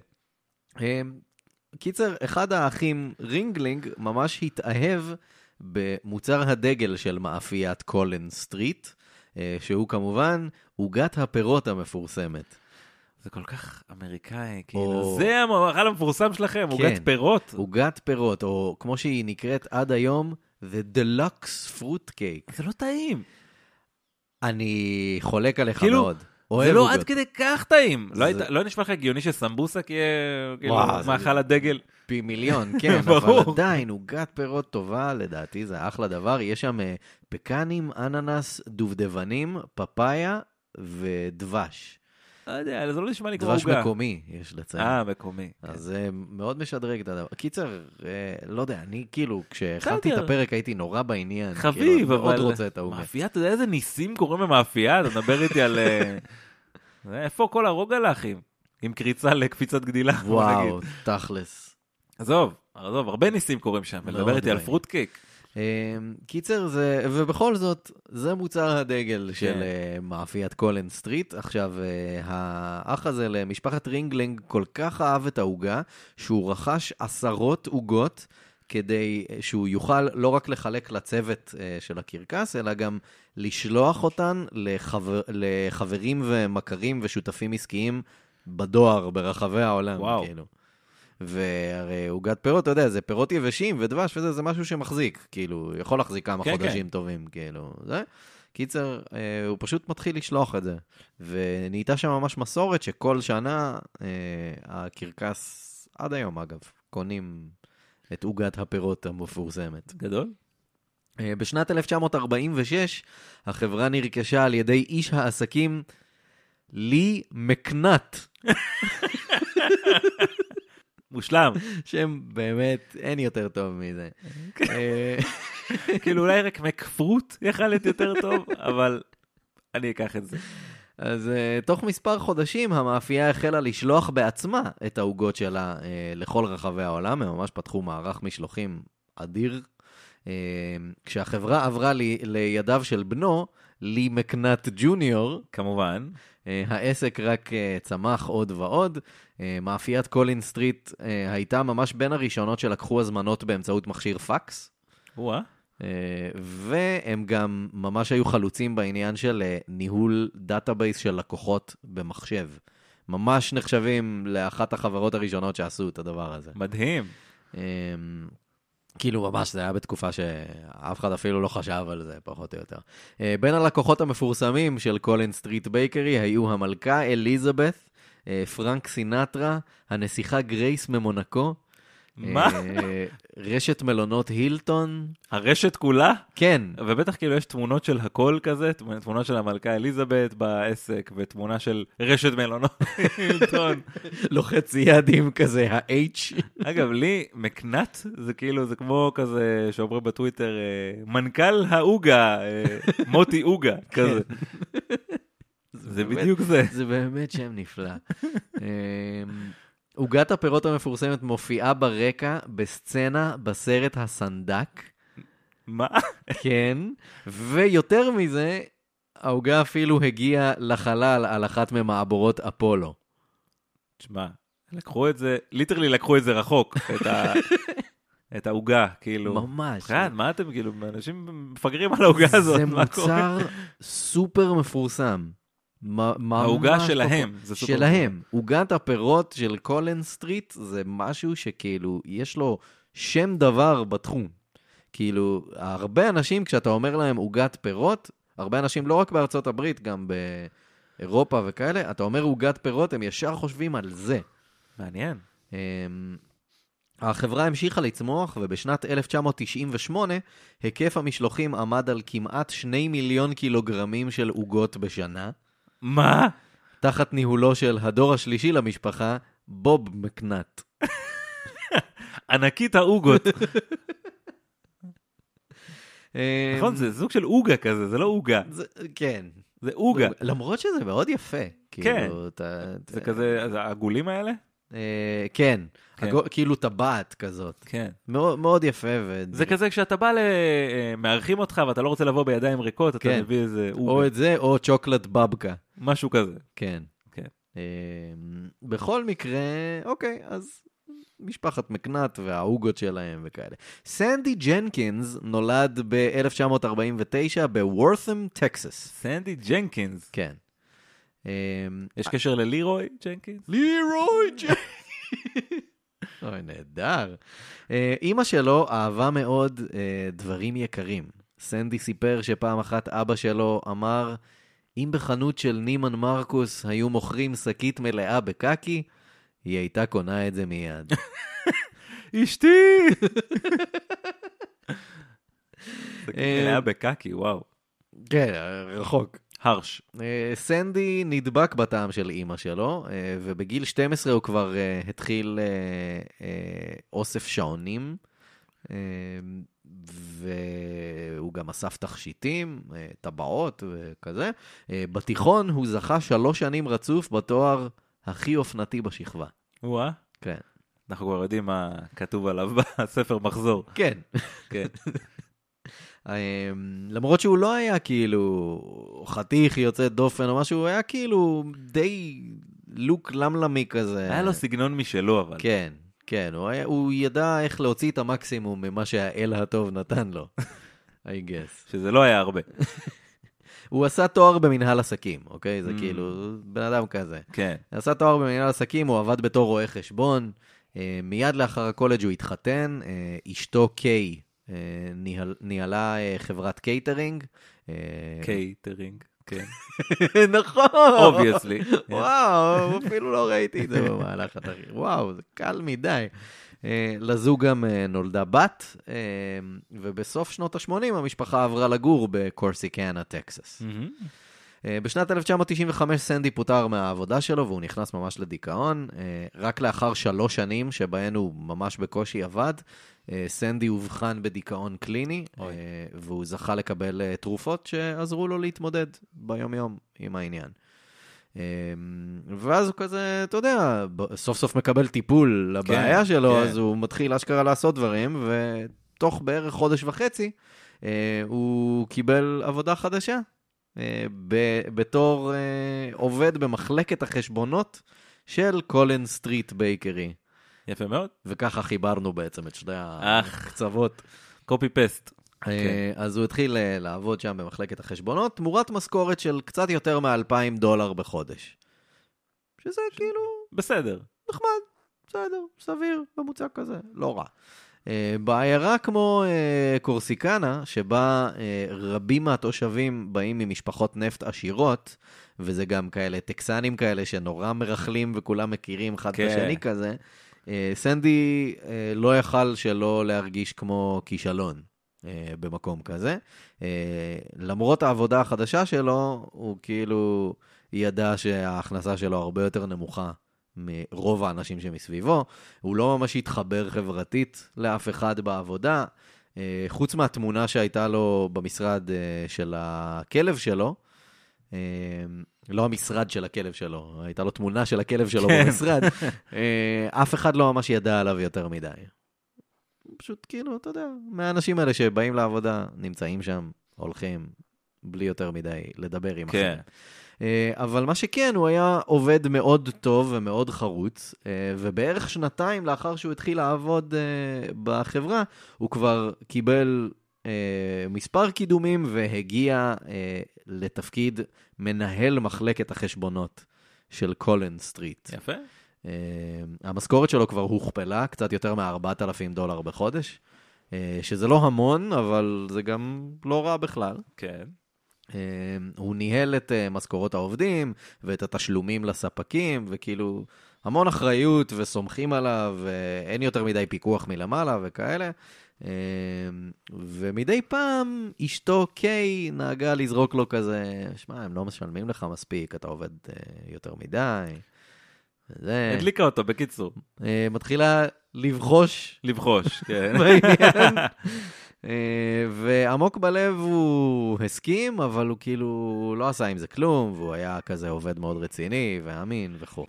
Speaker 2: אמ, קיצר, אחד האחים, רינגלינג, ממש התאהב במוצר הדגל של מאפיית קולן סטריט, אה, שהוא כמובן עוגת הפירות המפורסמת.
Speaker 1: זה כל כך אמריקאי,
Speaker 2: או. כן.
Speaker 1: כאילו. זה המאכל המפורסם שלכם, עוגת פירות.
Speaker 2: עוגת פירות, או כמו שהיא נקראת עד היום, The Deluxe Fruit Cake.
Speaker 1: זה לא טעים.
Speaker 2: אני חולק עליך
Speaker 1: כאילו,
Speaker 2: מאוד. אוהב
Speaker 1: זה לא
Speaker 2: עוגות.
Speaker 1: עד כדי כך טעים. לא
Speaker 2: זה-
Speaker 1: היית- לא נשמע לך הגיוני שסמבוסק יהיה כאילו,
Speaker 2: וואו, זה-
Speaker 1: מאכל הדגל?
Speaker 2: פי מיליון, כן, אבל
Speaker 1: ברור.
Speaker 2: עדיין עוגת פירות טובה, לדעתי זה אחלה דבר. יש שם אה, פקנים, אננס, דובדבנים, פפאיה ודבש.
Speaker 1: לא יודע, זה לא נשמע לי כמו
Speaker 2: דבש
Speaker 1: עוגה.
Speaker 2: מקומי, יש לציין.
Speaker 1: אה, מקומי.
Speaker 2: אז זה מאוד משדרג את הדבר. קיצר, אה, לא יודע, אני כאילו, כשהכנתי את
Speaker 1: בסדר.
Speaker 2: הפרק הייתי נורא בעניין. כאילו,
Speaker 1: חביב,
Speaker 2: אני
Speaker 1: אבל...
Speaker 2: מאוד רוצה את ההוא.
Speaker 1: מאפייה, אתה יודע איזה ניסים קורים במאפייה? אתה מדבר איתי על... אה, זה, איפה כל הרוגלחים? עם קריצה לקפיצת גדילה. בוא נגיד.
Speaker 2: וואו, תכלס.
Speaker 1: עזוב, עזוב, הרבה ניסים קורים שם.
Speaker 2: מאוד
Speaker 1: מדבר איתי על
Speaker 2: דברים.
Speaker 1: פרוט קייק.
Speaker 2: אה, קיצר, זה, ובכל זאת, זה מוצר הדגל של אה, מאפיית קולן סטריט. עכשיו, אה, האח הזה למשפחת רינגלינג כל כך אהב את העוגה, שהוא רכש עשרות עוגות. כדי אה, שהוא יוכל לא רק לחלק לצוות אה, של הקרקס, אלא גם לשלוח אותן לחבר, לחברים ומכרים ושותפים עסקיים בדואר ברחבי העולם,
Speaker 1: וואו.
Speaker 2: כאילו. והרי עוגת פירות, אתה יודע, זה פירות יבשים ודבש וזה, זה משהו שמחזיק, כאילו, יכול להחזיק כמה
Speaker 1: כן,
Speaker 2: חודשים טובים, כאילו, זה. קיצר, אה, הוא פשוט מתחיל לשלוח את זה. ונהייתה שם ממש מסורת שכל שנה אה, הקרקס, עד היום אגב, קונים את עוגת הפירות המפורסמת.
Speaker 1: גדול.
Speaker 2: אה, בשנת 1946 החברה נרכשה על ידי איש העסקים לי מקנט,
Speaker 1: מושלם.
Speaker 2: שם באמת אין יותר טוב מזה.
Speaker 1: אוקיי.
Speaker 2: אה,
Speaker 1: כאילו אולי רק מקפרוט יכל להיות יותר טוב, אבל אני אקח את זה.
Speaker 2: אז אה, תוך מספר חודשים המאפייה החלה לשלוח בעצמה את העוגות שלה אה, לכל רחבי העולם, הם ממש פתחו מערך משלוחים אדיר. אה, כשהחברה עברה לי, לידיו של בנו, לי מקנט ג'וניור,
Speaker 1: כמובן.
Speaker 2: אה, העסק רק אה, צמח עוד ועוד. אה, מאפיית קולין סטריט אה, הייתה ממש בין הראשונות שלקחו הזמנות באמצעות מכשיר פקס,
Speaker 1: וואה.
Speaker 2: אה, והם גם ממש היו חלוצים בעניין של אה, ניהול דאטאבייס של לקוחות במחשב. ממש נחשבים לאחת החברות הראשונות שעשו את הדבר הזה.
Speaker 1: מדהים.
Speaker 2: אמ, כאילו ממש זה היה בתקופה שאף אחד אפילו לא חשב על זה, פחות או יותר. אה, בין הלקוחות המפורסמים של קולן סטריט בייקרי היו המלכה אליזבת, אה, פרנק סינטרה, הנסיכה גרייס ממונקו. אה,
Speaker 1: מה?
Speaker 2: רשת מלונות הילטון.
Speaker 1: הרשת כולה?
Speaker 2: כן,
Speaker 1: ובטח כאילו יש תמונות של הכל כזה, תמונות של המלכה אליזבת בעסק, ותמונה של רשת מלונות. הילטון.
Speaker 2: לוחץ ידים כזה, ה-H.
Speaker 1: אגב, לי מקנט זה כאילו, זה כמו כזה שאומרים בטוויטר, אה, מנכ"ל האוגה, אה, מוטי אוגה, כזה. כן. זה
Speaker 2: כן, באמת-
Speaker 1: בדיוק זה.
Speaker 2: זה באמת שם נפלא. אמ, עוגת הפירות המפורסמת מופיעה ברקע בסצנה בסרט הסנדק.
Speaker 1: מה?
Speaker 2: כן, ויותר מזה, העוגה אפילו הגיעה לחלל על אחת ממעבורות אפולו.
Speaker 1: תשמע, לקחו את זה, ליטרלי לקחו את זה רחוק, את ה- את העוגה, כאילו.
Speaker 2: ממש.
Speaker 1: חד, מה אתם כאילו, אנשים מפגרים על העוגה הזאת,
Speaker 2: זה
Speaker 1: מה קורה?
Speaker 2: מוצר סופר מפורסם. מ- ממש
Speaker 1: העוגה
Speaker 2: פופו-
Speaker 1: שלהם, זה סופר
Speaker 2: שלהם. עוגת הפירות של קולן סטריט זה משהו שכאילו, יש לו שם דבר בתחום. כאילו, הרבה אנשים, כשאתה אומר להם עוגת פירות, הרבה אנשים, לא רק בארצות הברית, גם באירופה וכאלה, אתה אומר עוגת פירות, הם ישר חושבים על זה.
Speaker 1: מעניין.
Speaker 2: אמ, החברה המשיכה לצמוח, ובשנת 1998 היקף המשלוחים עמד על כמעט 2 מיליון קילוגרמים של עוגות בשנה,
Speaker 1: מה?
Speaker 2: תחת ניהולו של הדור השלישי למשפחה, בוב מקנט.
Speaker 1: ענקית האוגות.
Speaker 2: אמ,
Speaker 1: נכון, זה סוג של עוגה כזה, זה לא עוגה,
Speaker 2: זה- כן.
Speaker 1: זה עוגה.
Speaker 2: למרות שזה מאוד יפה.
Speaker 1: כן.
Speaker 2: כאילו, אתה...
Speaker 1: זה כזה, אז העגולים האלה?
Speaker 2: אה, כן.
Speaker 1: כן.
Speaker 2: הגו- כאילו טבעת כזאת.
Speaker 1: כן.
Speaker 2: מאוד מאוד יפה. ו-
Speaker 1: זה כזה כשאתה בא ל... אה, מארחים אותך ואתה לא רוצה לבוא בידיים ריקות, אתה
Speaker 2: כן.
Speaker 1: מביא איזה
Speaker 2: או
Speaker 1: עוגה,
Speaker 2: את זה, או צ'וקלט בבקה.
Speaker 1: משהו כזה.
Speaker 2: כן.
Speaker 1: כן.
Speaker 2: אמ, בכל מקרה, אוקיי, אז משפחת מקנט והעוגות שלהם וכאלה. סנדי ג'נקינס נולד ב-1949 בוורת'ם, טקסס.
Speaker 1: סנדי ג'נקינס,
Speaker 2: כן. אמ,
Speaker 1: יש קשר ללירוי ג'נקינס?
Speaker 2: לירוי ג'נקינס. אוי, נהדר. אה, אימא שלו אהבה מאוד אה, דברים יקרים. סנדי סיפר שפעם אחת אבא שלו אמר, אם בחנות של נימן מרקוס היו מוכרים שקית מלאה בקקי, היא הייתה קונה את זה מיד.
Speaker 1: אשתי! זה
Speaker 2: אה,
Speaker 1: היה בקקי, וואו.
Speaker 2: כן, רחוק.
Speaker 1: הרש.
Speaker 2: אה, סנדי נדבק בטעם של אימא שלו, אה, ובגיל 12 הוא כבר אה, התחיל אה, אה, אוסף שעונים, אה, והוא גם אסף תכשיטים, אה, טבעות וכזה. אה, בתיכון הוא זכה שלוש שנים רצוף בתואר הכי אופנתי בשכבה.
Speaker 1: וואה.
Speaker 2: כן.
Speaker 1: אה? אנחנו כבר יודעים מה כתוב עליו בספר מחזור.
Speaker 2: כן.
Speaker 1: כן.
Speaker 2: אה, למרות שהוא לא היה כאילו חתיך יוצא דופן או משהו, הוא היה כאילו די לוק למלמי כזה.
Speaker 1: היה לו סגנון משלו, אבל.
Speaker 2: כן, כן, הוא, היה, הוא ידע איך להוציא את המקסימום ממה שהאל הטוב נתן לו, I guess.
Speaker 1: שזה לא היה הרבה.
Speaker 2: הוא עשה תואר במנהל עסקים, אוקיי? זה
Speaker 1: Mm.
Speaker 2: כאילו, בן אדם כזה.
Speaker 1: כן.
Speaker 2: עשה תואר במנהל עסקים, הוא עבד בתור רואה חשבון. אה, מיד לאחר הקולג' הוא התחתן, אה, אשתו קיי אה, ניהל, ניהלה אה, חברת קייטרינג. אה,
Speaker 1: קייטרינג. כן.
Speaker 2: נכון!
Speaker 1: אובייסלי.
Speaker 2: וואו, אפילו לא ראיתי את זה במהלך התחקיר. וואו, זה קל מדי. אה, לזוג גם אה, נולדה בת, אה, ובסוף שנות ה-80 המשפחה עברה לגור בקורסיקנה,
Speaker 1: Mm.
Speaker 2: טקסס.
Speaker 1: Mm-hmm.
Speaker 2: אה, בשנת 1995 סנדי פוטר מהעבודה שלו והוא נכנס ממש לדיכאון. אה, רק לאחר שלוש שנים שבהן הוא ממש בקושי עבד, אה, סנדי אובחן בדיכאון קליני, אה,
Speaker 1: אוי.
Speaker 2: והוא זכה לקבל אה, תרופות שעזרו לו להתמודד ביום-יום עם העניין. אה, ואז הוא כזה, אתה יודע, ב- סוף סוף מקבל טיפול לבעיה
Speaker 1: כן,
Speaker 2: שלו,
Speaker 1: כן.
Speaker 2: אז הוא מתחיל אשכרה לעשות דברים, ותוך בערך חודש וחצי אה, הוא קיבל עבודה חדשה אה, ב- בתור אה, עובד במחלקת החשבונות של קולן סטריט בייקרי.
Speaker 1: יפה מאוד.
Speaker 2: וככה חיברנו בעצם את שני
Speaker 1: אך.
Speaker 2: הקצוות.
Speaker 1: קופי פסט.
Speaker 2: אה,
Speaker 1: כן.
Speaker 2: אז הוא התחיל אה, לעבוד שם במחלקת החשבונות, תמורת משכורת של קצת יותר מ-2,000 דולר בחודש. שזה כאילו
Speaker 1: בסדר.
Speaker 2: נחמד, בסדר, סביר, ממוצע כזה, לא רע. אה, בעיירה כמו אה, קורסיקנה, שבה אה, רבים מהתושבים באים ממשפחות נפט עשירות, וזה גם כאלה טקסנים כאלה שנורא מרכלים וכולם מכירים אחד
Speaker 1: כן.
Speaker 2: את השני כזה, אה, סנדי אה, לא יכל שלא להרגיש כמו כישלון. אה, במקום כזה. אה, למרות העבודה החדשה שלו, הוא כאילו ידע שההכנסה שלו הרבה יותר נמוכה מרוב האנשים שמסביבו. הוא לא ממש התחבר חברתית לאף אחד בעבודה. אה, חוץ מהתמונה שהייתה לו במשרד אה, של הכלב שלו, אה, לא המשרד של הכלב שלו, הייתה לו תמונה של הכלב שלו
Speaker 1: כן.
Speaker 2: במשרד, אה, אף אחד לא ממש ידע עליו יותר מדי. פשוט כאילו, אתה יודע, מהאנשים האלה שבאים לעבודה, נמצאים שם, הולכים, בלי יותר מדי לדבר עם
Speaker 1: כן.
Speaker 2: אחרים. אה, אבל מה שכן, הוא היה עובד מאוד טוב ומאוד חרוץ, אה, ובערך שנתיים לאחר שהוא התחיל לעבוד אה, בחברה, הוא כבר קיבל אה, מספר קידומים והגיע אה, לתפקיד מנהל מחלקת החשבונות של קולן סטריט.
Speaker 1: יפה.
Speaker 2: אה, המשכורת שלו כבר הוכפלה, קצת יותר מ-4,000 דולר בחודש, אה, שזה לא המון, אבל זה גם לא רע בכלל.
Speaker 1: כן.
Speaker 2: אה, הוא ניהל את אה, משכורות העובדים ואת התשלומים לספקים, וכאילו המון אחריות וסומכים עליו, ואין יותר מדי פיקוח מלמעלה וכאלה. אה, ומדי פעם אשתו קיי נהגה לזרוק לו כזה, שמע, הם לא משלמים לך מספיק, אתה עובד אה, יותר מדי. וזה,
Speaker 1: הדליקה אותו, בקיצור.
Speaker 2: אה, מתחילה לבחוש
Speaker 1: לבחוש. כן.
Speaker 2: בעניין. אה, ועמוק בלב הוא הסכים, אבל הוא כאילו לא עשה עם זה כלום, והוא היה כזה עובד מאוד רציני ואמין וכו'.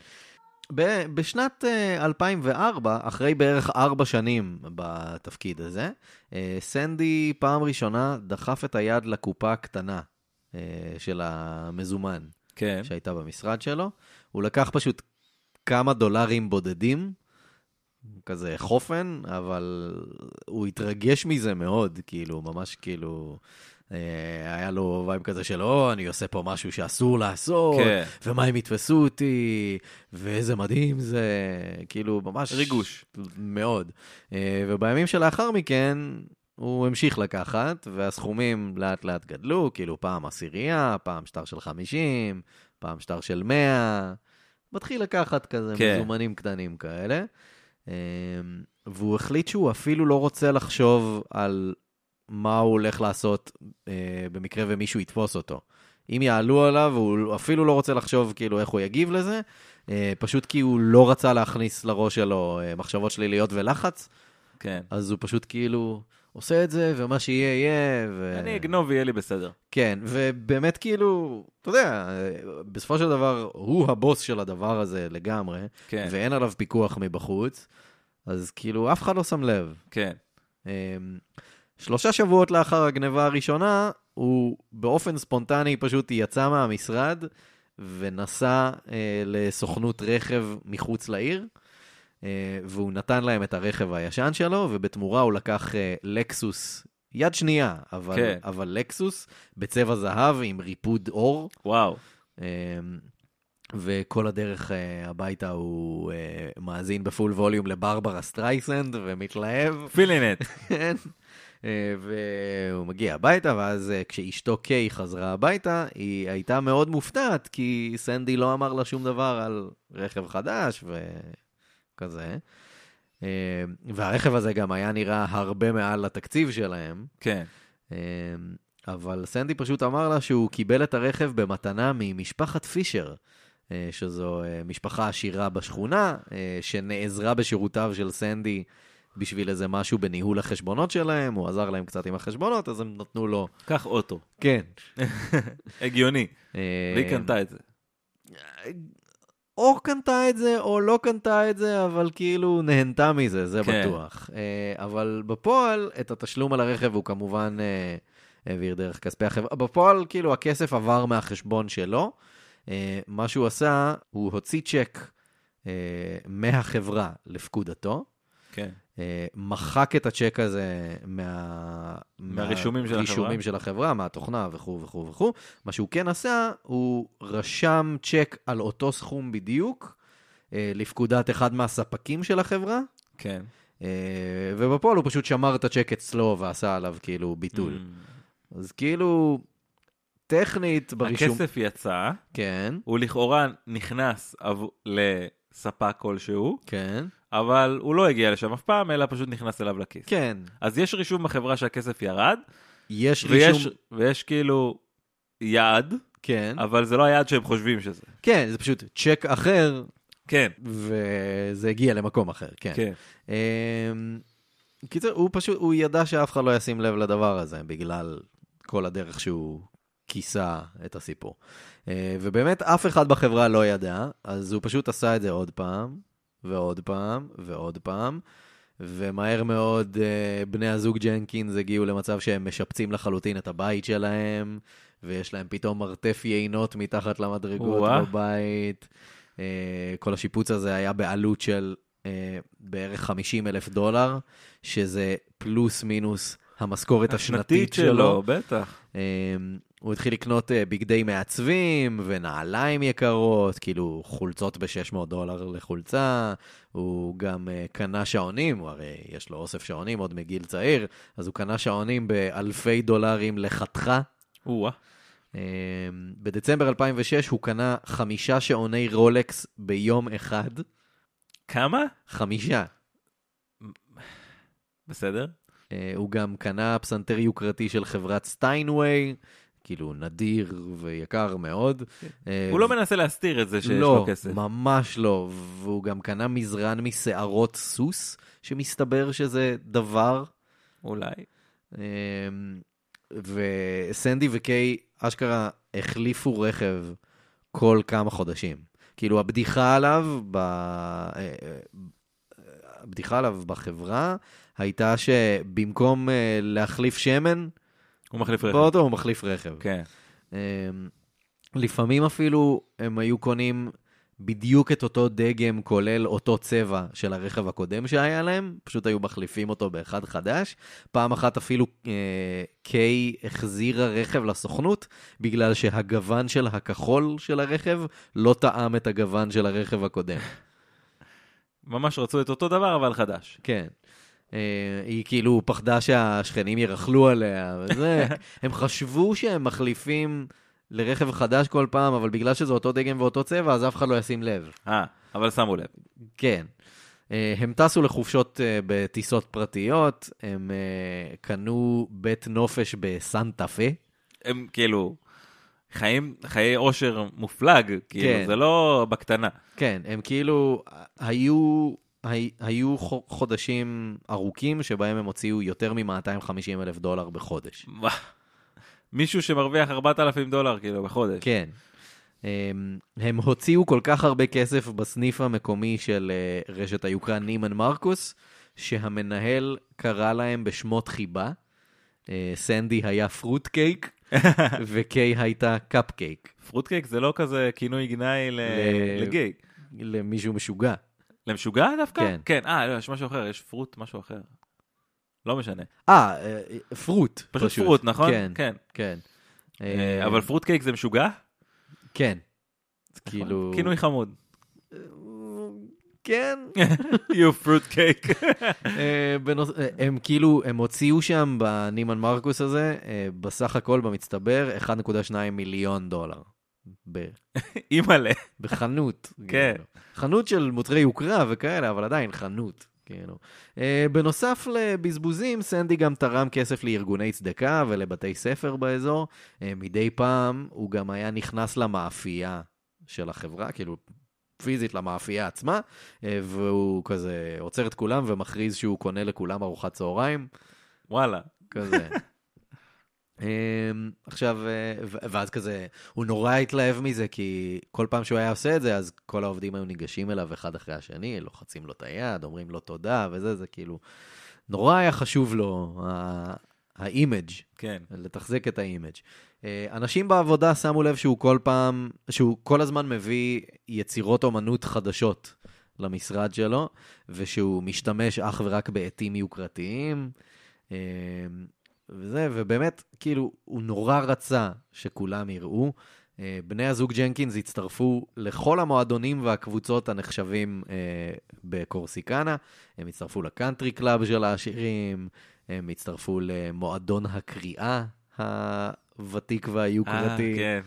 Speaker 2: ב- בשנת אה, 2004, אחרי בערך ארבע שנים בתפקיד הזה, אה, סנדי פעם ראשונה דחף את היד לקופה הקטנה אה, של המזומן.
Speaker 1: כן.
Speaker 2: שהייתה במשרד שלו. הוא לקח פשוט כמה דולרים בודדים, כזה חופן, אבל הוא התרגש מזה מאוד, כאילו, ממש כאילו... אה, היה לו וייב כזה של, או, אני עושה פה משהו שאסור לעשות,
Speaker 1: כן.
Speaker 2: ומה אם יתפסו אותי, ואיזה מדהים זה, כאילו, ממש...
Speaker 1: ריגוש.
Speaker 2: מאוד. אה, ובימים שלאחר מכן, הוא המשיך לקחת, והסכומים לאט לאט גדלו, כאילו פעם עשירייה, פעם שטר של 50, פעם שטר של 100, מתחיל לקחת כזה
Speaker 1: כן.
Speaker 2: מזומנים קטנים כאלה. אמ, והוא החליט שהוא אפילו לא רוצה לחשוב על מה הוא הולך לעשות אה, במקרה ומישהו יתפוס אותו. אם יעלו עליו, הוא אפילו לא רוצה לחשוב כאילו איך הוא יגיב לזה, אה, פשוט כי הוא לא רצה להכניס לראש שלו אה, מחשבות שליליות ולחץ,
Speaker 1: כן.
Speaker 2: אז הוא פשוט כאילו עושה את זה, ומה שיהיה יהיה, ו...
Speaker 1: אני אגנוב ויהיה לי בסדר.
Speaker 2: כן, ובאמת כאילו, אתה יודע, בסופו של דבר, הוא הבוס של הדבר הזה לגמרי,
Speaker 1: כן,
Speaker 2: ואין עליו פיקוח מבחוץ, אז כאילו, אף אחד לא שם לב.
Speaker 1: כן.
Speaker 2: אמ, שלושה שבועות לאחר הגניבה הראשונה, הוא באופן ספונטני פשוט יצא מהמשרד ונסע אה, לסוכנות רכב מחוץ לעיר, אה, והוא נתן להם את הרכב הישן שלו, ובתמורה הוא לקח אה, לקסוס יד שנייה, אבל,
Speaker 1: כן.
Speaker 2: כן. אבל לקסוס בצבע זהב עם ריפוד אור.
Speaker 1: וואו.
Speaker 2: אמ, וכל הדרך אה, הביתה הוא אה, מאזין בפול ווליום לברברה סטרייסנד ומתלהב.
Speaker 1: פילינט.
Speaker 2: כן. אה, והוא מגיע הביתה, ואז אה, כשאשתו קיי חזרה הביתה, היא הייתה מאוד מופתעת, כי סנדי לא אמר לה שום דבר על רכב חדש וכזה. אה, והרכב הזה גם היה נראה הרבה מעל התקציב שלהם.
Speaker 1: כן.
Speaker 2: אה, אבל סנדי פשוט אמר לה שהוא קיבל את הרכב במתנה ממשפחת פישר, אה, שזו אה, משפחה עשירה בשכונה, אה, שנעזרה בשירותיו של סנדי בשביל איזה משהו בניהול החשבונות שלהם, הוא עזר להם קצת עם החשבונות, אז הם נתנו לו...
Speaker 1: קח אוטו.
Speaker 2: כן.
Speaker 1: הגיוני.
Speaker 2: אה,
Speaker 1: והיא קנתה את זה.
Speaker 2: או קנתה את זה, או לא קנתה את זה, אבל כאילו נהנתה מזה, זה
Speaker 1: כן.
Speaker 2: כן. בטוח. אה, אבל בפועל, את התשלום על הרכב הוא כמובן אה, העביר דרך כספי החברה. בפועל, כאילו, הכסף עבר מהחשבון שלו. אה, מה שהוא עשה, הוא הוציא צ'ק אה, מהחברה לפקודתו.
Speaker 1: כן.
Speaker 2: אה, מחק את הצ'ק הזה מה...
Speaker 1: מהרישומים של החברה.
Speaker 2: מהרישומים של החברה, מהתוכנה וכו' וכו' וכו'. מה שהוא כן עשה, הוא רשם צ'ק על אותו סכום בדיוק, אה, לפקודת אחד מהספקים של החברה,
Speaker 1: כן.
Speaker 2: אה, ובפועל הוא פשוט שמר את הצ'ק אצלו ועשה עליו כאילו ביטול. אז כאילו, טכנית ברישום...
Speaker 1: Mm. הכסף יצא,
Speaker 2: כן,
Speaker 1: הוא לכאורה נכנס עב- לספק כלשהו,
Speaker 2: כן,
Speaker 1: אבל הוא לא הגיע לשם אף פעם, אלא פשוט נכנס אליו לכיס.
Speaker 2: כן.
Speaker 1: אז יש רישום בחברה שהכסף ירד,
Speaker 2: יש
Speaker 1: ויש,
Speaker 2: רישום...
Speaker 1: ויש כאילו יעד,
Speaker 2: כן,
Speaker 1: אבל זה לא היעד שהם חושבים שזה.
Speaker 2: כן, זה פשוט צ'ק אחר,
Speaker 1: כן,
Speaker 2: וזה הגיע למקום אחר, כן.
Speaker 1: כן,
Speaker 2: אמ, קיצר, הוא פשוט, הוא ידע שאף אחד לא ישים לב לדבר הזה, בגלל כל הדרך שהוא כיסה את הסיפור. אה, ובאמת, אף אחד בחברה לא ידע, אז הוא פשוט עשה את זה עוד פעם, ועוד פעם, ועוד פעם, ומהר מאוד אה, בני הזוג ג'נקינס הגיעו למצב שהם משפצים לחלוטין את הבית שלהם, ויש להם פתאום מרתף יינות מתחת למדרגות
Speaker 1: או-אה.
Speaker 2: בבית. אה, כל השיפוץ הזה היה בעלות של אה, בערך 50 אלף דולר, שזה פלוס מינוס המשכורת השנתית שלו.
Speaker 1: בטח.
Speaker 2: אמ, הוא התחיל לקנות אה, בגדי מעצבים ונעליים יקרות, כאילו חולצות ב-600 דולר לחולצה. הוא גם אה, קנה שעונים, הוא הרי יש לו אוסף שעונים עוד מגיל צעיר, אז הוא קנה שעונים באלפי דולרים לחתיכה.
Speaker 1: או-אה.
Speaker 2: אמ, בדצמבר 2006 הוא קנה חמישה שעוני רולקס ביום אחד.
Speaker 1: כמה?
Speaker 2: חמישה.
Speaker 1: בסדר.
Speaker 2: אה, הוא גם קנה פסנתר יוקרתי של חברת סטיינווי, כאילו נדיר ויקר מאוד. אה,
Speaker 1: הוא לא מנסה להסתיר את זה שיש לו
Speaker 2: לא,
Speaker 1: כסף.
Speaker 2: ממש לא. והוא גם קנה מזרן משערות סוס, שמסתבר שזה דבר.
Speaker 1: אולי.
Speaker 2: אמ, וסנדי וקיי אשכרה החליפו רכב כל כמה חודשים. כאילו הבדיחה עליו, ב... אה, אה, הבדיחה עליו בחברה הייתה שבמקום אה, להחליף שמן
Speaker 1: הוא מחליף רכב.
Speaker 2: באוטו הוא מחליף רכב.
Speaker 1: כן.
Speaker 2: אמ, לפעמים אפילו הם היו קונים בדיוק את אותו דגם, כולל אותו צבע של הרכב הקודם שהיה להם, פשוט היו מחליפים אותו באחד חדש. פעם אחת אפילו אה, קיי החזירה רכב לסוכנות, בגלל שהגוון של הכחול של הרכב לא טעם את הגוון של הרכב הקודם.
Speaker 1: ממש רצו את אותו דבר, אבל חדש.
Speaker 2: כן. אה, היא כאילו פחדה שהשכנים ירכלו עליה, וזה, הם חשבו שהם מחליפים לרכב חדש כל פעם, אבל בגלל שזה אותו דגם ואותו צבע, אז אף אחד לא ישים לב.
Speaker 1: אה, אבל שמו לב.
Speaker 2: כן. אה, הם טסו לחופשות אה, בטיסות פרטיות, הם אה, קנו בית נופש בסנטה פה.
Speaker 1: הם כאילו חיים חיי אושר מופלג, כאילו,
Speaker 2: כן.
Speaker 1: זה לא בקטנה.
Speaker 2: כן, הם כאילו היו, הי, היו חו- חודשים ארוכים שבהם הם הוציאו יותר מ-250 אלף דולר בחודש.
Speaker 1: מה? מישהו שמרוויח 4,000 דולר, כאילו, בחודש.
Speaker 2: כן. הם, הם הוציאו כל כך הרבה כסף בסניף המקומי של אה, רשת היוקרה נימן מרקוס, שהמנהל קרא להם בשמות חיבה. אה, סנדי היה פרוט קייק, וקיי הייתה קאפ קייק,
Speaker 1: פרוטקייק זה לא כזה כינוי גנאי ל...
Speaker 2: ל-
Speaker 1: לגיי.
Speaker 2: למישהו משוגע.
Speaker 1: למשוגע דווקא?
Speaker 2: כן.
Speaker 1: כן, אה, לא, יש משהו אחר, יש פרוט, משהו אחר. לא משנה.
Speaker 2: אה, אה, פרוט.
Speaker 1: פשוט פרוט, נכון?
Speaker 2: כן,
Speaker 1: כן.
Speaker 2: כן.
Speaker 1: אה,
Speaker 2: אה,
Speaker 1: אבל נכון. פרוטקייק זה משוגע?
Speaker 2: כן. כאילו...
Speaker 1: כינוי חמוד.
Speaker 2: כן.
Speaker 1: You fruit cake.
Speaker 2: אה, בנוס- אה, הם כאילו, הם הוציאו שם בנימן מרקוס הזה, אה, בסך הכל במצטבר, 1.2 מיליון דולר. ב-
Speaker 1: אימא'לה.
Speaker 2: בחנות.
Speaker 1: כן.
Speaker 2: כאילו. חנות של מוצרי יוקרה וכאלה, אבל עדיין חנות. כאילו. אה, בנוסף לבזבוזים, סנדי גם תרם כסף לארגוני צדקה ולבתי ספר באזור. אה, מדי פעם הוא גם היה נכנס למאפייה של החברה, כאילו פיזית למאפייה עצמה, אה, והוא כזה עוצר את כולם ומכריז שהוא קונה לכולם ארוחת צהריים.
Speaker 1: וואלה.
Speaker 2: כזה. אמ, עכשיו, אה, ו- ואז כזה, הוא נורא התלהב מזה, כי כל פעם שהוא היה עושה את זה, אז כל העובדים היו ניגשים אליו אחד אחרי השני, לוחצים לו את היד, אומרים לו תודה וזה, זה כאילו, נורא היה חשוב לו ה- האימג',
Speaker 1: כן.
Speaker 2: לתחזק את האימג'. אה, אנשים בעבודה שמו לב שהוא כל פעם, שהוא כל הזמן מביא יצירות אומנות חדשות למשרד שלו, ושהוא משתמש אך ורק בעטים יוקרתיים. אה, וזה, ובאמת, כאילו, הוא נורא רצה שכולם יראו. אה, בני הזוג ג'נקינס הצטרפו לכל המועדונים והקבוצות הנחשבים אה, בקורסיקנה. הם הצטרפו לקאנטרי קלאב של העשירים, הם הצטרפו למועדון הקריאה הוותיק
Speaker 1: אה,
Speaker 2: והיוקרתי,
Speaker 1: כן.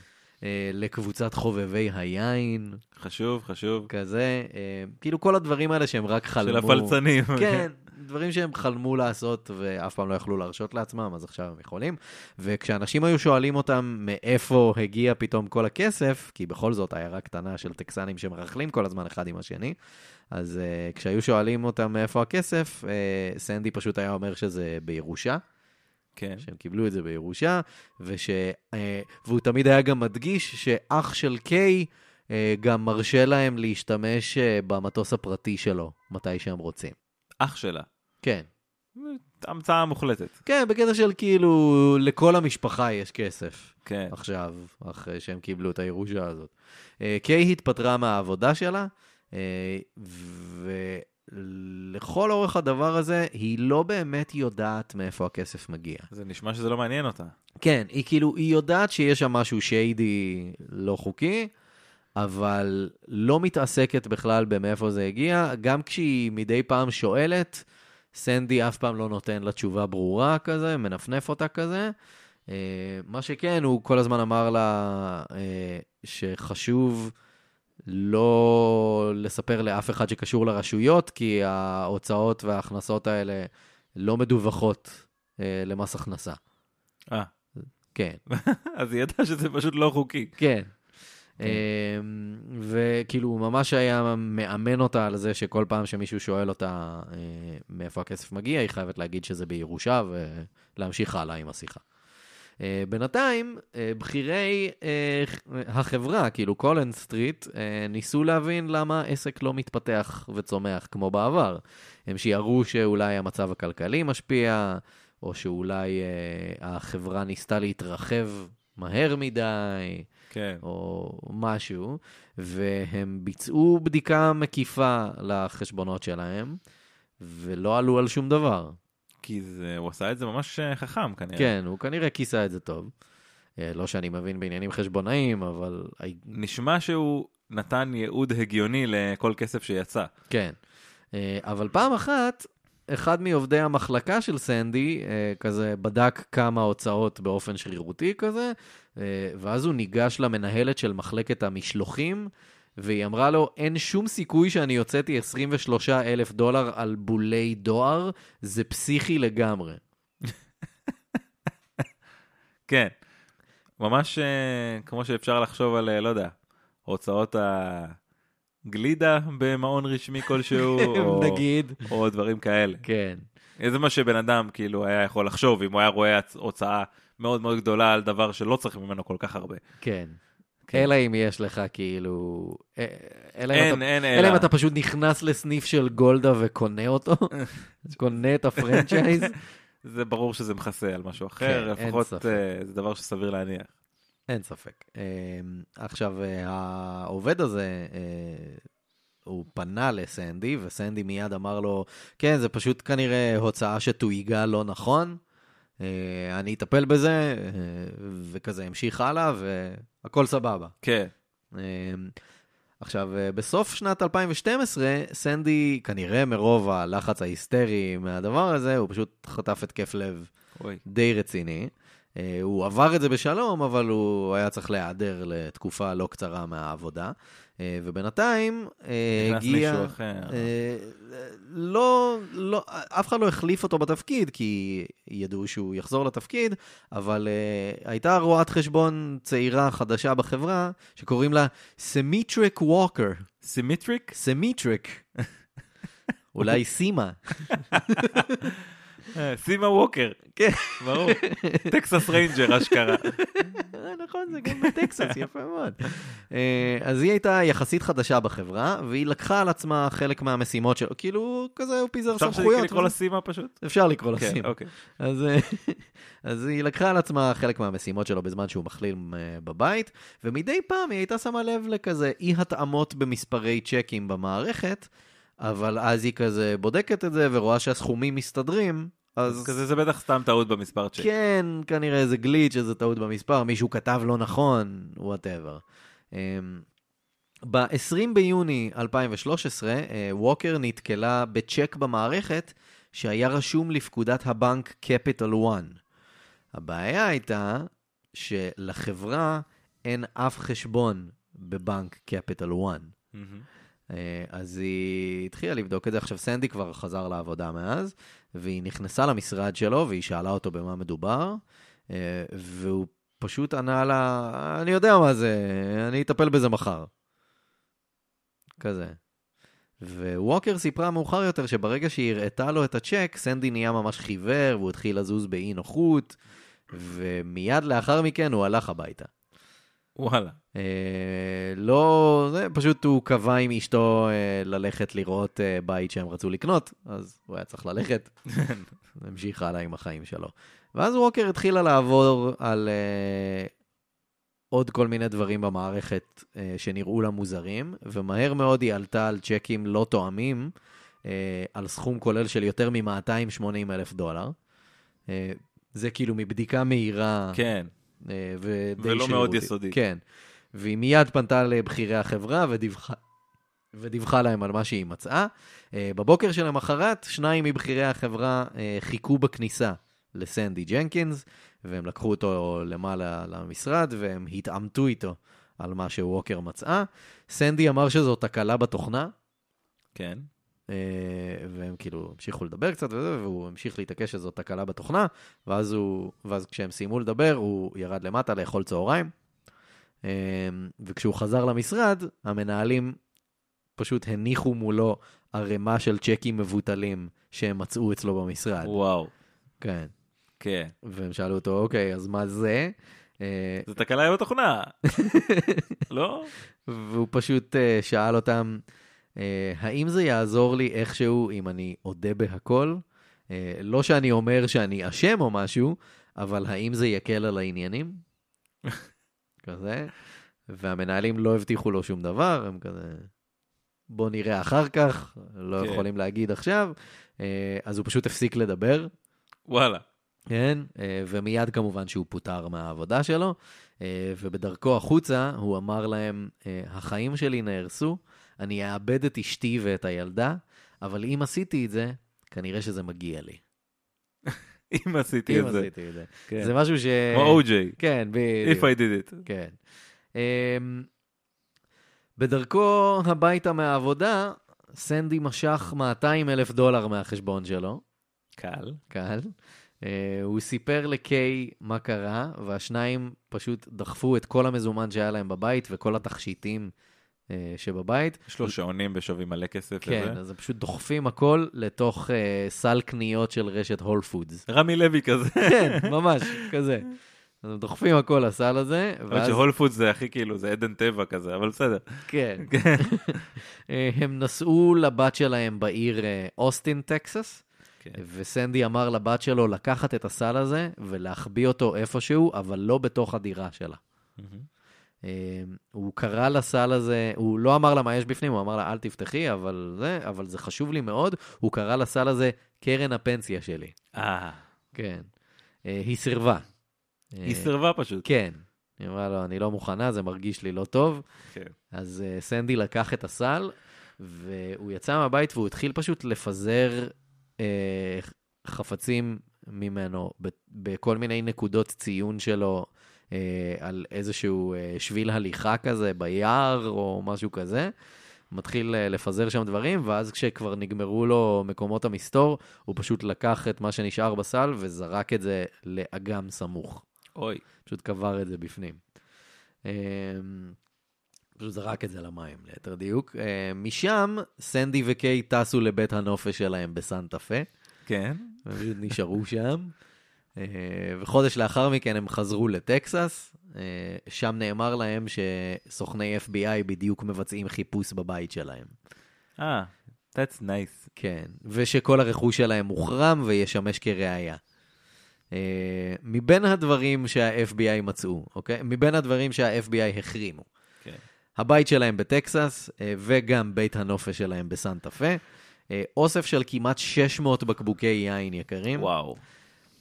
Speaker 2: אה, לקבוצת חובבי היין,
Speaker 1: חשוב, חשוב.
Speaker 2: כזה, אה, כאילו כל הדברים האלה שהם רק חלמו.
Speaker 1: של הפלצנים.
Speaker 2: כן, דברים שהם חלמו לעשות ואף פעם לא יכלו להרשות לעצמם, אז עכשיו הם יכולים. וכשאנשים היו שואלים אותם מאיפה הגיע פתאום כל הכסף, כי בכל זאת עיירה קטנה של טקסנים שמרכלים כל הזמן אחד עם השני, אז uh, כשהיו שואלים אותם מאיפה הכסף, uh, סנדי פשוט היה אומר שזה בירושה,
Speaker 1: כן.
Speaker 2: שהם קיבלו את זה בירושה, וש, uh, והוא תמיד היה גם מדגיש שאח של קיי uh, גם מרשה להם להשתמש uh, במטוס הפרטי שלו, מתי שהם רוצים.
Speaker 1: אח שלה.
Speaker 2: כן.
Speaker 1: המצאה מוחלטת.
Speaker 2: כן, בקטע של כאילו, לכל המשפחה יש כסף
Speaker 1: כן.
Speaker 2: עכשיו, אחרי שהם קיבלו את הירושה הזאת. אה, קיי התפטרה מהעבודה שלה, אה, ולכל אורך הדבר הזה, היא לא באמת יודעת מאיפה הכסף מגיע.
Speaker 1: זה נשמע שזה לא מעניין אותה.
Speaker 2: כן, היא כאילו, היא יודעת שיש שם משהו שיידי לא חוקי, אבל לא מתעסקת בכלל במאיפה זה הגיע. גם כשהיא מדי פעם שואלת, סנדי אף פעם לא נותן לה תשובה ברורה כזה, מנפנף אותה כזה. אה, מה שכן, הוא כל הזמן אמר לה אה, שחשוב לא לספר לאף אחד שקשור לרשויות, כי ההוצאות וההכנסות האלה לא מדווחות אה, למס הכנסה.
Speaker 1: אה.
Speaker 2: כן.
Speaker 1: אז היא ידעה שזה פשוט לא חוקי.
Speaker 2: כן. אמ, וכאילו, הוא ממש היה מאמן אותה על זה שכל פעם שמישהו שואל אותה אה, מאיפה הכסף מגיע, היא חייבת להגיד שזה בירושה ולהמשיך הלאה עם השיחה. אה, בינתיים, אה, בכירי אה, החברה, כאילו קולן סטריט, אה, ניסו להבין למה עסק לא מתפתח וצומח כמו בעבר. הם שיערו שאולי המצב הכלכלי משפיע, או שאולי אה, החברה ניסתה להתרחב מהר מדי.
Speaker 1: כן.
Speaker 2: או משהו, והם ביצעו בדיקה מקיפה לחשבונות שלהם, ולא עלו על שום דבר.
Speaker 1: כי זה, הוא עשה את זה ממש אה, חכם כנראה.
Speaker 2: כן, הוא כנראה כיסה את זה טוב. אה, לא שאני מבין בעניינים חשבונאיים, אבל I-
Speaker 1: נשמע שהוא נתן ייעוד הגיוני לכל כסף שיצא.
Speaker 2: כן. אה, אבל פעם אחת, אחד מעובדי המחלקה של סנדי, אה, כזה בדק כמה הוצאות באופן שרירותי כזה, אה, ואז הוא ניגש למנהלת של מחלקת המשלוחים, והיא אמרה לו, אין שום סיכוי שאני הוצאתי 23 אלף דולר על בולי דואר, זה פסיכי לגמרי.
Speaker 1: כן. ממש אה, כמו שאפשר לחשוב על, אה, לא יודע, הוצאות הגלידה במעון רשמי כלשהו, או,
Speaker 2: נגיד.
Speaker 1: או דברים כאלה.
Speaker 2: כן.
Speaker 1: זה מה שבן אדם כאילו היה יכול לחשוב, אם הוא היה רואה הצ- הוצאה מאוד מאוד גדולה על דבר שלא צריך ממנו כל כך הרבה.
Speaker 2: כן. אלא אם יש לך כאילו... אה, אלא אם
Speaker 1: אין,
Speaker 2: אתה-
Speaker 1: אין,
Speaker 2: אלא אם
Speaker 1: אלא.
Speaker 2: אתה פשוט נכנס לסניף של גולדה וקונה אותו, קונה את הפרנצ'ייז.
Speaker 1: זה ברור שזה מכסה על משהו
Speaker 2: כן,
Speaker 1: אחר,
Speaker 2: אין
Speaker 1: לפחות
Speaker 2: ספק.
Speaker 1: אה, זה דבר שסביר להניח.
Speaker 2: אין ספק. אה, עכשיו, אה, העובד הזה, אה, הוא פנה לסנדי, וסנדי מיד אמר לו, כן, זה פשוט כנראה הוצאה שתויגה לא נכון, אה, אני אטפל בזה, אה, וכזה המשיך הלאה, והכל סבבה.
Speaker 1: כן,
Speaker 2: אה, עכשיו, אה, בסוף שנת 2012, סנדי, כנראה מרוב הלחץ ההיסטרי מהדבר הזה, הוא פשוט חטף התקף לב
Speaker 1: אוי.
Speaker 2: די רציני. אה, הוא עבר את זה בשלום, אבל הוא היה צריך להיעדר לתקופה לא קצרה מהעבודה. אה, ובינתיים אה,
Speaker 1: נכנס
Speaker 2: הגיע...
Speaker 1: מישהו אחר.
Speaker 2: אה, לא, לא, אף אחד לא החליף אותו בתפקיד, כי ידעו שהוא יחזור לתפקיד, אבל אה, הייתה רואת חשבון צעירה חדשה בחברה, שקוראים לה סמיטריק ווקר.
Speaker 1: סימטריק?
Speaker 2: סמיטריק. אולי סימה.
Speaker 1: אה, סימה ווקר.
Speaker 2: כן.
Speaker 1: ברור. טקסס ריינג'ר אשכרה.
Speaker 2: אה, נכון, זה גם בטקסס, יפה מאוד. אה, אז היא הייתה יחסית חדשה בחברה, והיא לקחה על עצמה חלק מהמשימות שלו, כאילו, כזה הוא פיזר
Speaker 1: אפשר
Speaker 2: סמכויות.
Speaker 1: שאני כן לקרוא לה סימה פשוט?
Speaker 2: אפשר לקרוא לה
Speaker 1: כן,
Speaker 2: סימה.
Speaker 1: אוקיי.
Speaker 2: אז, אה, אז היא לקחה על עצמה חלק מהמשימות שלו בזמן שהוא מחלים אה, בבית, ומדי פעם היא הייתה שמה לב לכזה אי התאמות במספרי צ'קים במערכת, אבל אז היא כזה בודקת את זה ורואה שהסכומים מסתדרים, אז...
Speaker 1: אז כזה זה בטח סתם טעות במספר צ'ק.
Speaker 2: כן, כנראה איזה גליץ', איזה טעות במספר, מישהו כתב לא נכון, וואטאבר. ב-20 ביוני 2013, אה, ווקר נתקלה בצ'ק במערכת שהיה רשום לפקודת הבנק Capital One. הבעיה הייתה שלחברה אין אף חשבון בבנק Capital One.
Speaker 1: מהמם.
Speaker 2: אה, אז היא התחילה לבדוק את זה. עכשיו, סנדי כבר חזר לעבודה מאז, והיא נכנסה למשרד שלו והיא שאלה אותו במה מדובר, אה, והוא פשוט ענה לה, אני יודע מה זה, אני אטפל בזה מחר. כזה. וווקר סיפרה מאוחר יותר שברגע שהיא הראתה לו את הצ'ק, סנדי נהיה ממש חיוור, והוא התחיל לזוז באי נוחות, ומיד לאחר מכן הוא הלך הביתה.
Speaker 1: וואלה.
Speaker 2: אה, לא, זה פשוט הוא קבע עם אשתו אה, ללכת לראות אה, בית שהם רצו לקנות, אז הוא היה צריך ללכת. המשיך הלאה עם החיים שלו. ואז ווקר התחילה לעבור על אה, עוד כל מיני דברים במערכת אה, שנראו לה מוזרים, ומהר מאוד היא עלתה על צ'קים לא תואמים, אה, על סכום כולל של יותר מ-280 אלף דולר. אה, זה כאילו מבדיקה מהירה.
Speaker 1: כן.
Speaker 2: אה, ודי
Speaker 1: ולא
Speaker 2: שרירותית.
Speaker 1: מאוד יסודית.
Speaker 2: כן. והיא מיד פנתה לבכירי החברה ודיווחה, ודיווחה להם על מה שהיא מצאה. אה, בבוקר שלמחרת, שניים מבכירי החברה אה, חיכו בכניסה לסנדי ג'נקינס, והם לקחו אותו למעלה למשרד, והם התעמתו איתו על מה שווקר מצאה. סנדי אמר שזו תקלה בתוכנה,
Speaker 1: כן.
Speaker 2: אה, והם כאילו המשיכו לדבר קצת וזה, והוא המשיך להתעקש שזו תקלה בתוכנה, ואז, הוא, ואז כשהם סיימו לדבר, הוא ירד למטה לאכול צהריים. אה, וכשהוא חזר למשרד, המנהלים פשוט הניחו מולו ערימה של צ'קים מבוטלים שהם מצאו אצלו במשרד.
Speaker 1: וואו.
Speaker 2: כן.
Speaker 1: כן.
Speaker 2: והם שאלו אותו, אוקיי, אז מה זה? אה,
Speaker 1: זו תקלה בתוכנה. לא?
Speaker 2: והוא פשוט אה, שאל אותם, אה, האם זה יעזור לי איכשהו אם אני אודה בהכל? אה, לא שאני אומר שאני אשם או משהו, אבל האם זה יקל על העניינים? כזה. והמנהלים לא הבטיחו לו שום דבר, הם כזה, בוא נראה אחר כך, לא
Speaker 1: כן.
Speaker 2: יכולים להגיד עכשיו. אה, אז הוא פשוט הפסיק לדבר,
Speaker 1: וואלה.
Speaker 2: כן, אה, ומיד כמובן שהוא פוטר מהעבודה שלו, אה, ובדרכו החוצה הוא אמר להם, אה, החיים שלי נהרסו, אני אאבד את אשתי ואת הילדה, אבל אם עשיתי את זה, כנראה שזה מגיע לי.
Speaker 1: אם עשיתי
Speaker 2: אם
Speaker 1: את זה.
Speaker 2: עשיתי את זה.
Speaker 1: כן.
Speaker 2: זה משהו ש...
Speaker 1: כמו OJ.
Speaker 2: כן,
Speaker 1: If
Speaker 2: בדיוק.
Speaker 1: I did it.
Speaker 2: כן. אמ, בדרכו הביתה מהעבודה, סנדי משך 200 אלף דולר מהחשבון שלו,
Speaker 1: קל.
Speaker 2: קל. אה, הוא סיפר לקיי מה קרה, והשניים פשוט דחפו את כל המזומן שהיה להם בבית וכל התכשיטים אה, שבבית.
Speaker 1: יש לו שעונים בשווים מלא כסף.
Speaker 2: כן,
Speaker 1: וזה.
Speaker 2: אז הם פשוט דוחפים הכל לתוך אה, סל קניות של רשת הול פודס.
Speaker 1: רמי לוי כזה.
Speaker 2: כן, ממש, כזה. אז הם דוחפים הכל לסל הזה,
Speaker 1: האמת
Speaker 2: ואז...
Speaker 1: שהול פוד זה הכי כאילו, זה עדן טבע כזה, אבל בסדר.
Speaker 2: כן. אה, הם נסעו לבת שלהם בעיר אה, אוסטין, טקסס,
Speaker 1: כן.
Speaker 2: וסנדי אמר לבת שלו לקחת את הסל הזה ולהחביא אותו איפשהו, אבל לא בתוך הדירה שלה. אה, הוא קרא לסל הזה, הוא לא אמר לה מה יש בפנים, הוא אמר לה אל תפתחי, אבל זה, אבל זה חשוב לי מאוד, הוא קרא לסל הזה קרן הפנסיה שלי.
Speaker 1: אה,
Speaker 2: כן. אה, היא סירבה.
Speaker 1: היא
Speaker 2: אה,
Speaker 1: סירבה פשוט.
Speaker 2: כן. היא אמרה לו, אני לא מוכנה, זה מרגיש לי לא טוב.
Speaker 1: כן.
Speaker 2: אז אה, סנדי לקח את הסל, והוא יצא מהבית והוא התחיל פשוט לפזר אה, חפצים ממנו ב- בכל מיני נקודות ציון שלו אה, על איזשהו אה, שביל הליכה כזה ביער או משהו כזה. מתחיל אה, לפזר שם דברים, ואז כשכבר נגמרו לו מקומות המסתור, הוא פשוט לקח את מה שנשאר בסל וזרק את זה לאגם סמוך.
Speaker 1: אוי.
Speaker 2: פשוט קבר את זה בפנים. אמ, פשוט זרק את זה למים, ליתר דיוק. אמ, משם, סנדי וקיי טסו לבית הנופש שלהם בסנטה פה,
Speaker 1: כן.
Speaker 2: הם פשוט נשארו שם. אה, וחודש לאחר מכן הם חזרו לטקסס, אה, שם נאמר להם שסוכני FBI בדיוק מבצעים חיפוש בבית שלהם.
Speaker 1: אה, that's nice.
Speaker 2: כן, ושכל הרכוש שלהם מוחרם וישמש כראיה. Uh, מבין הדברים שה-FBI מצאו, אוקיי? מבין הדברים שה-FBI החרימו.
Speaker 1: כן.
Speaker 2: הבית שלהם בטקסס, אה, וגם בית הנופש שלהם בסנטה פה. אה, אוסף של כמעט 600 בקבוקי יין יקרים.
Speaker 1: וואו.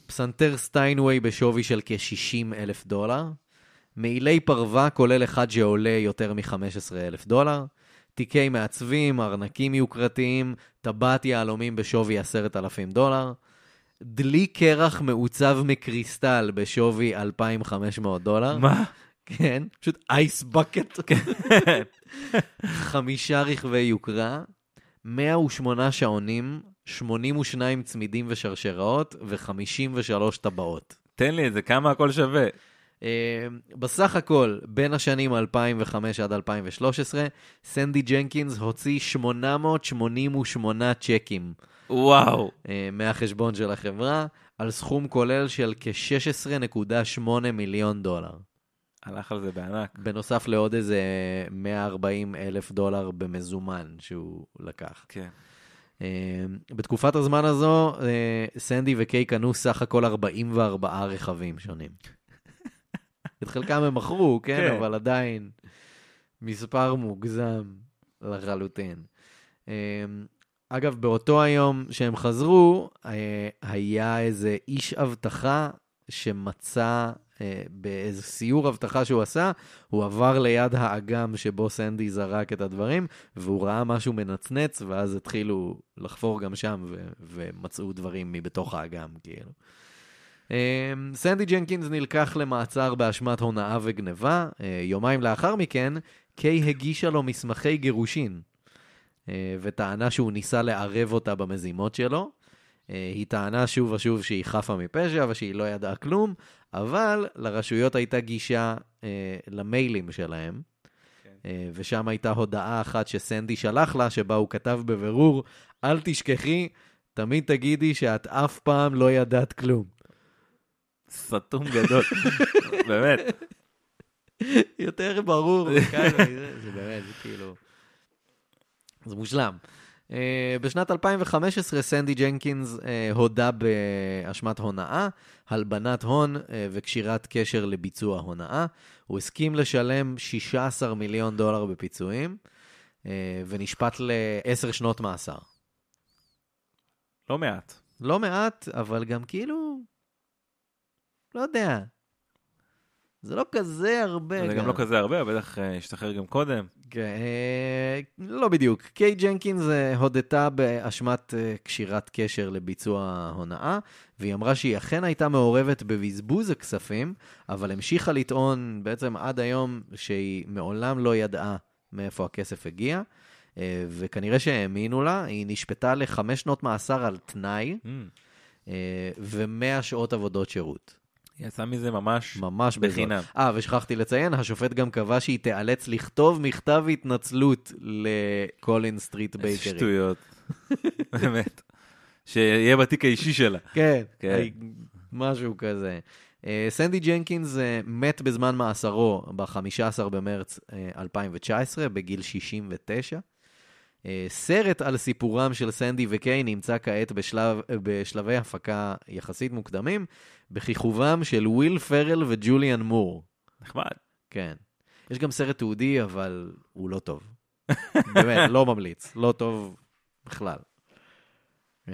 Speaker 2: פסנתר סטיינווי בשווי של כ-60 אלף דולר, מעילי פרווה כולל אחד שעולה יותר מ-15 אלף דולר, תיקי מעצבים, ארנקים יוקרתיים, טבעת יהלומים בשווי 10,000 דולר, דלי קרח מעוצב מקריסטל בשווי 2,500 דולר.
Speaker 1: מה?
Speaker 2: כן, פשוט אייס בקט. חמישה רכבי יוקרה, 108 שעונים, 82 צמידים ושרשראות ו-53 טבעות.
Speaker 1: תן לי את זה, כמה הכל שווה?
Speaker 2: אה, בסך הכל, בין השנים 2005 עד 2013, סנדי ג'נקינס הוציא 888 צ'קים
Speaker 1: וואו.
Speaker 2: אה, מהחשבון של החברה, על סכום כולל של כ-16.8 מיליון דולר.
Speaker 1: הלך על זה בענק.
Speaker 2: בנוסף לעוד איזה 140 אלף דולר במזומן שהוא לקח.
Speaker 1: כן.
Speaker 2: אה, בתקופת הזמן הזו, אה, סנדי וקיי קנו סך הכל 44 רכבים שונים. את חלקם הם מכרו, כן,
Speaker 1: כן.
Speaker 2: אבל עדיין מספר מוגזם לחלוטין. אה, אגב, באותו היום שהם חזרו, אה, היה איזה איש אבטחה שמצא, אה, באיזה סיור אבטחה שהוא עשה, הוא עבר ליד האגם שבו סנדי זרק את הדברים, והוא ראה משהו מנצנץ, ואז התחילו לחפור גם שם, ו- ומצאו דברים מבתוך האגם, כאילו. אמ, סנדי ג'נקינס נלקח למעצר באשמת הונאה וגנבה. אה, יומיים לאחר מכן, קיי הגישה לו מסמכי גירושין, אה, וטענה שהוא ניסה לערב אותה במזימות שלו. אה, היא טענה שוב ושוב שהיא חפה מפשע ושהיא לא ידעה כלום, אבל לרשויות הייתה גישה אה, למיילים שלהם. אה, ושם הייתה הודעה אחת שסנדי שלח לה, שבה הוא כתב בבירור, אל תשכחי, תמיד תגידי שאת אף פעם לא ידעת כלום.
Speaker 1: סתום גדול. באמת.
Speaker 2: יותר ברור, וקל מזה, זה באמת, זה כאילו... זה מושלם. Uh, בשנת 2015 סנדי ג'נקינס uh, הודה באשמת הונאה, הלבנת הון uh, וקשירת קשר לביצוע הונאה. הוא הסכים לשלם 16 מיליון דולר בפיצויים uh, ונשפט לעשר שנות מאסר.
Speaker 1: לא מעט.
Speaker 2: לא מעט, אבל גם כאילו... לא יודע. זה לא כזה הרבה.
Speaker 1: זה גם לא כזה הרבה, בטח אה, השתחרר גם קודם.
Speaker 2: כן, אה, לא בדיוק. קיי ג'נקינס אה, הודתה באשמת אה, קשירת קשר לביצוע הונאה, והיא אמרה שהיא אכן הייתה מעורבת בבזבוז הכספים, אבל המשיכה לטעון בעצם עד היום שהיא מעולם לא ידעה מאיפה הכסף הגיע, אה, וכנראה שהאמינו לה, היא נשפטה לחמש שנות מאסר על תנאי
Speaker 1: Mm.
Speaker 2: ו-100 אה, שעות עבודות שירות.
Speaker 1: היא עשה מזה ממש
Speaker 2: ממש בזול.
Speaker 1: בחינם.
Speaker 2: אה, ושכחתי לציין, השופט גם קבע שהיא תיאלץ לכתוב מכתב התנצלות לקולין סטריט
Speaker 1: איזה
Speaker 2: בייקרי.
Speaker 1: שטויות. באמת. שיהיה בתיק האישי שלה.
Speaker 2: כן,
Speaker 1: כן.
Speaker 2: כן. משהו כזה. אה, סנדי ג'נקינס אה, מת בזמן מאסרו ב-15 במרץ אה, 2019, בגיל 69. אה, סרט על סיפורם של סנדי וקיי נמצא כעת בשלב, אה, בשלבי הפקה יחסית מוקדמים, בכיכובם של וויל פרל וג'וליאן מור.
Speaker 1: נחמד.
Speaker 2: כן. יש גם סרט תיעודי, אבל הוא לא טוב. באמת, לא ממליץ. לא טוב בכלל. אמ,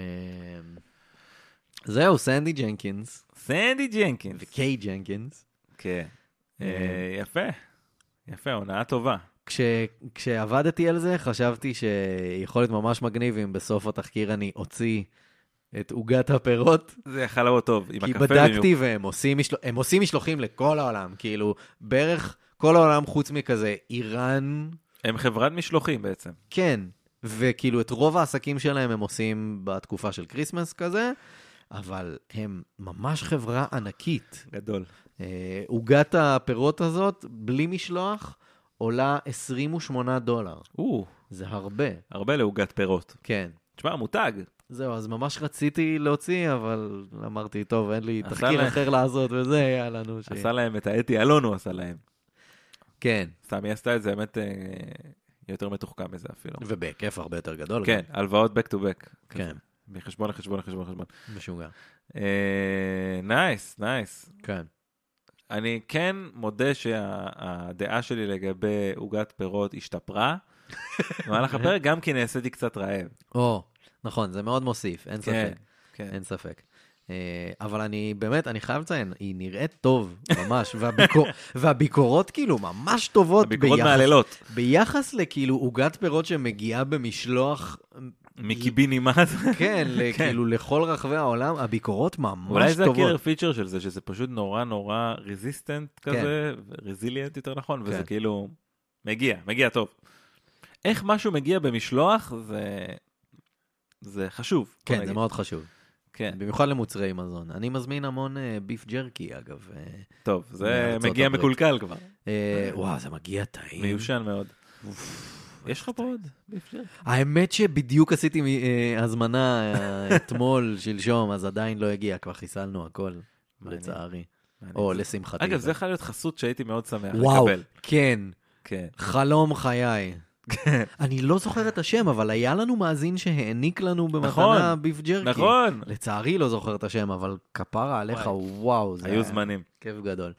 Speaker 2: זהו, סנדי ג'נקינס,
Speaker 1: סנדי ג'נקינס.
Speaker 2: וקיי ג'נקינס.
Speaker 1: כן.
Speaker 2: אה,
Speaker 1: אה, יפה. יפה, הונאה טובה.
Speaker 2: כש, כשעבדתי על זה, חשבתי שיכול להיות ממש מגניב אם בסוף התחקיר אני אוציא את עוגת הפירות,
Speaker 1: זה יכל לבוא טוב, עם
Speaker 2: כי
Speaker 1: הקפה במיוחד.
Speaker 2: בדקתי והם עושים, משל... הם עושים משלוחים לכל העולם, כאילו, בערך כל העולם חוץ מכזה איראן,
Speaker 1: הם חברת משלוחים בעצם.
Speaker 2: כן, וכאילו את רוב העסקים שלהם הם עושים בתקופה של כריסמס כזה, אבל הם ממש חברה ענקית.
Speaker 1: גדול.
Speaker 2: אה, עוגת הפירות הזאת, בלי משלוח, עולה 28 דולר.
Speaker 1: או,
Speaker 2: זה הרבה,
Speaker 1: הרבה לעוגת פירות.
Speaker 2: כן.
Speaker 1: תשמע, מותג.
Speaker 2: זהו, אז ממש רציתי להוציא, אבל אמרתי, טוב, אין לי
Speaker 1: עשה
Speaker 2: תחקיר
Speaker 1: להם-
Speaker 2: אחר לעשות וזה, יאללה, נו. ש-
Speaker 1: עשה להם את האתי אלון הוא עשה להם.
Speaker 2: כן,
Speaker 1: סתם, היא עשתה את זה, האמת, אה, יותר מתוחכם מזה אפילו.
Speaker 2: ובהיקף הרבה יותר גדול.
Speaker 1: כן, הלוואות back to back.
Speaker 2: כן,
Speaker 1: מחשבון לחשבון לחשבון לחשבון.
Speaker 2: משוגע.
Speaker 1: אה, נייס, נייס.
Speaker 2: כן.
Speaker 1: אני כן מודה שהדעה שלי לגבי עוגת פירות השתפרה. במהלך הפרק גם כי נעשיתי קצת רעב.
Speaker 2: או, נכון, זה מאוד מוסיף, אין
Speaker 1: כן,
Speaker 2: ספק.
Speaker 1: כן.
Speaker 2: אין ספק. אה, אבל אני באמת, אני חייב לציין, היא נראית טוב, ממש, והביקור, והביקורות כאילו ממש טובות
Speaker 1: הביקורות
Speaker 2: ביחס,
Speaker 1: מהלילות.
Speaker 2: ביחס לכאילו עוגת פירות שמגיעה במשלוח,
Speaker 1: מקיבינימט.
Speaker 2: כן, ל- כאילו לכל רחבי העולם, הביקורות
Speaker 1: אולי
Speaker 2: ממש
Speaker 1: זה הקילר
Speaker 2: טובות.
Speaker 1: פיצ'ר של זה, שזה פשוט נורא נורא רזיסטנט כזה, רזיליאנט יותר נכון, וזה
Speaker 2: כן.
Speaker 1: כאילו מגיע, מגיע טוב. איך משהו מגיע במשלוח זה זה חשוב. בוא
Speaker 2: כן, זה
Speaker 1: נגיד.
Speaker 2: מאוד חשוב,
Speaker 1: כן,
Speaker 2: במיוחד למוצרי מזון. אני מזמין המון אה, ביף ג'רקי, אגב. אה,
Speaker 1: טוב, זה
Speaker 2: מארצות
Speaker 1: מגיע
Speaker 2: הברית.
Speaker 1: מקולקל כבר,
Speaker 2: אה, וואו, זה מגיע טעים.
Speaker 1: מיושן מאוד.
Speaker 2: אוף,
Speaker 1: יש לך פה עוד? ביף ג'רקי?
Speaker 2: האמת שבדיוק עשיתי אה, הזמנה אה, אתמול, שלשום, אז עדיין לא הגיע, כבר חיסלנו הכל,
Speaker 1: מעניין.
Speaker 2: לצערי.
Speaker 1: מעניין.
Speaker 2: או לשמחתי.
Speaker 1: אגב, זה יכול להיות חסות שהייתי מאוד שמח
Speaker 2: וואו,
Speaker 1: לקבל.
Speaker 2: כן,
Speaker 1: כן.
Speaker 2: חלום חיי. אני לא זוכר את השם, אבל היה לנו מאזין שהעניק לנו במתנה
Speaker 1: נכון,
Speaker 2: ביף ג'רקי.
Speaker 1: נכון,
Speaker 2: לצערי לא זוכר את השם, אבל כפרה עליך,
Speaker 1: וואי.
Speaker 2: וואו, זה
Speaker 1: היו זמנים.
Speaker 2: כיף גדול.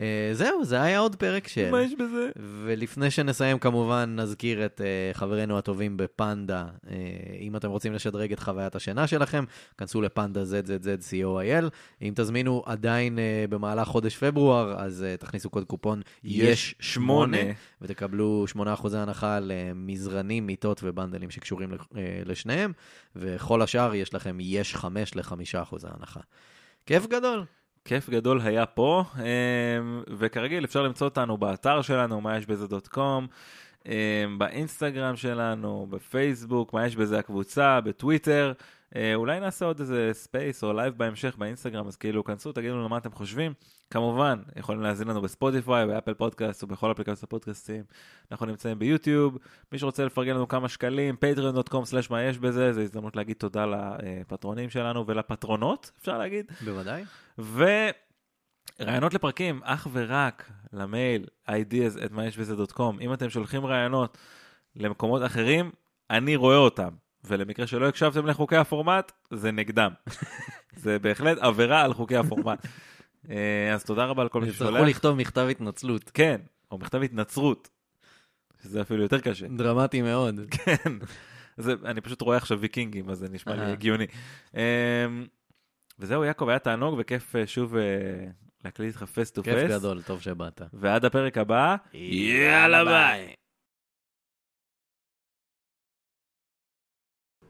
Speaker 2: אה, זהו, זה היה עוד פרק של...
Speaker 1: מה יש בזה?
Speaker 2: ולפני שנסיים, כמובן, נזכיר את uh, חברינו הטובים בפנדה. Uh, אם אתם רוצים לשדרג את חוויית השינה שלכם, כנסו לפנדה ZZZ.co.il. אם תזמינו עדיין uh, במהלך חודש פברואר, אז uh, תכניסו קוד קופון יש שמונה, ותקבלו 8% הנחה למזרנים, מיטות ובנדלים שקשורים ל- אה, לשניהם, וכל השאר יש לכם יש 5 ל-5% הנחה. כיף גדול.
Speaker 1: כיף גדול היה פה, אמ, וכרגיל אפשר למצוא אותנו באתר שלנו, מה יש בזה דוט קום, אמ, באינסטגרם שלנו, בפייסבוק, מה יש בזה הקבוצה, בטוויטר. אה, אולי נעשה עוד איזה ספייס או לייב בהמשך באינסטגרם, אז כאילו, כנסו, תגידו לנו מה אתם חושבים. כמובן, יכולים להזין לנו בספוטיפיי, באפל פודקאסט ובכל אפליקציות הפודקאסטים. אנחנו נמצאים ביוטיוב. מי שרוצה לפרגן לנו כמה שקלים, patreon.com/מה יש בזה, זו הזדמנות להגיד תודה לפטרונים שלנו ולפטרונות, אפשר להגיד.
Speaker 2: בוודאי.
Speaker 1: ורעיונות לפרקים אך ורק למייל ideas at מה יש בזה דוט קום. אם אתם שולחים רעיונות למקומות אחרים, אני רואה אותם. ולמקרה שלא הקשבתם לחוקי הפורמט, זה נגדם. זה בהחלט עבירה על חוקי הפורמט. אה, אז תודה רבה על כל מי
Speaker 2: יצטרכו
Speaker 1: ששולח.
Speaker 2: לכתוב מכתב התנצלות.
Speaker 1: כן, או מכתב התנצרות, שזה אפילו יותר קשה.
Speaker 2: דרמטי מאוד.
Speaker 1: כן. זה, אני פשוט רואה עכשיו ויקינגים, אז זה נשמע לי
Speaker 2: אהה.
Speaker 1: הגיוני. אמ, וזהו, יעקב, היה תענוג וכיף אה, שוב אה, להקליט איתך פס טו פס.
Speaker 2: כיף גדול, טוב שבאת.
Speaker 1: ועד הפרק הבא, יאללה ביי.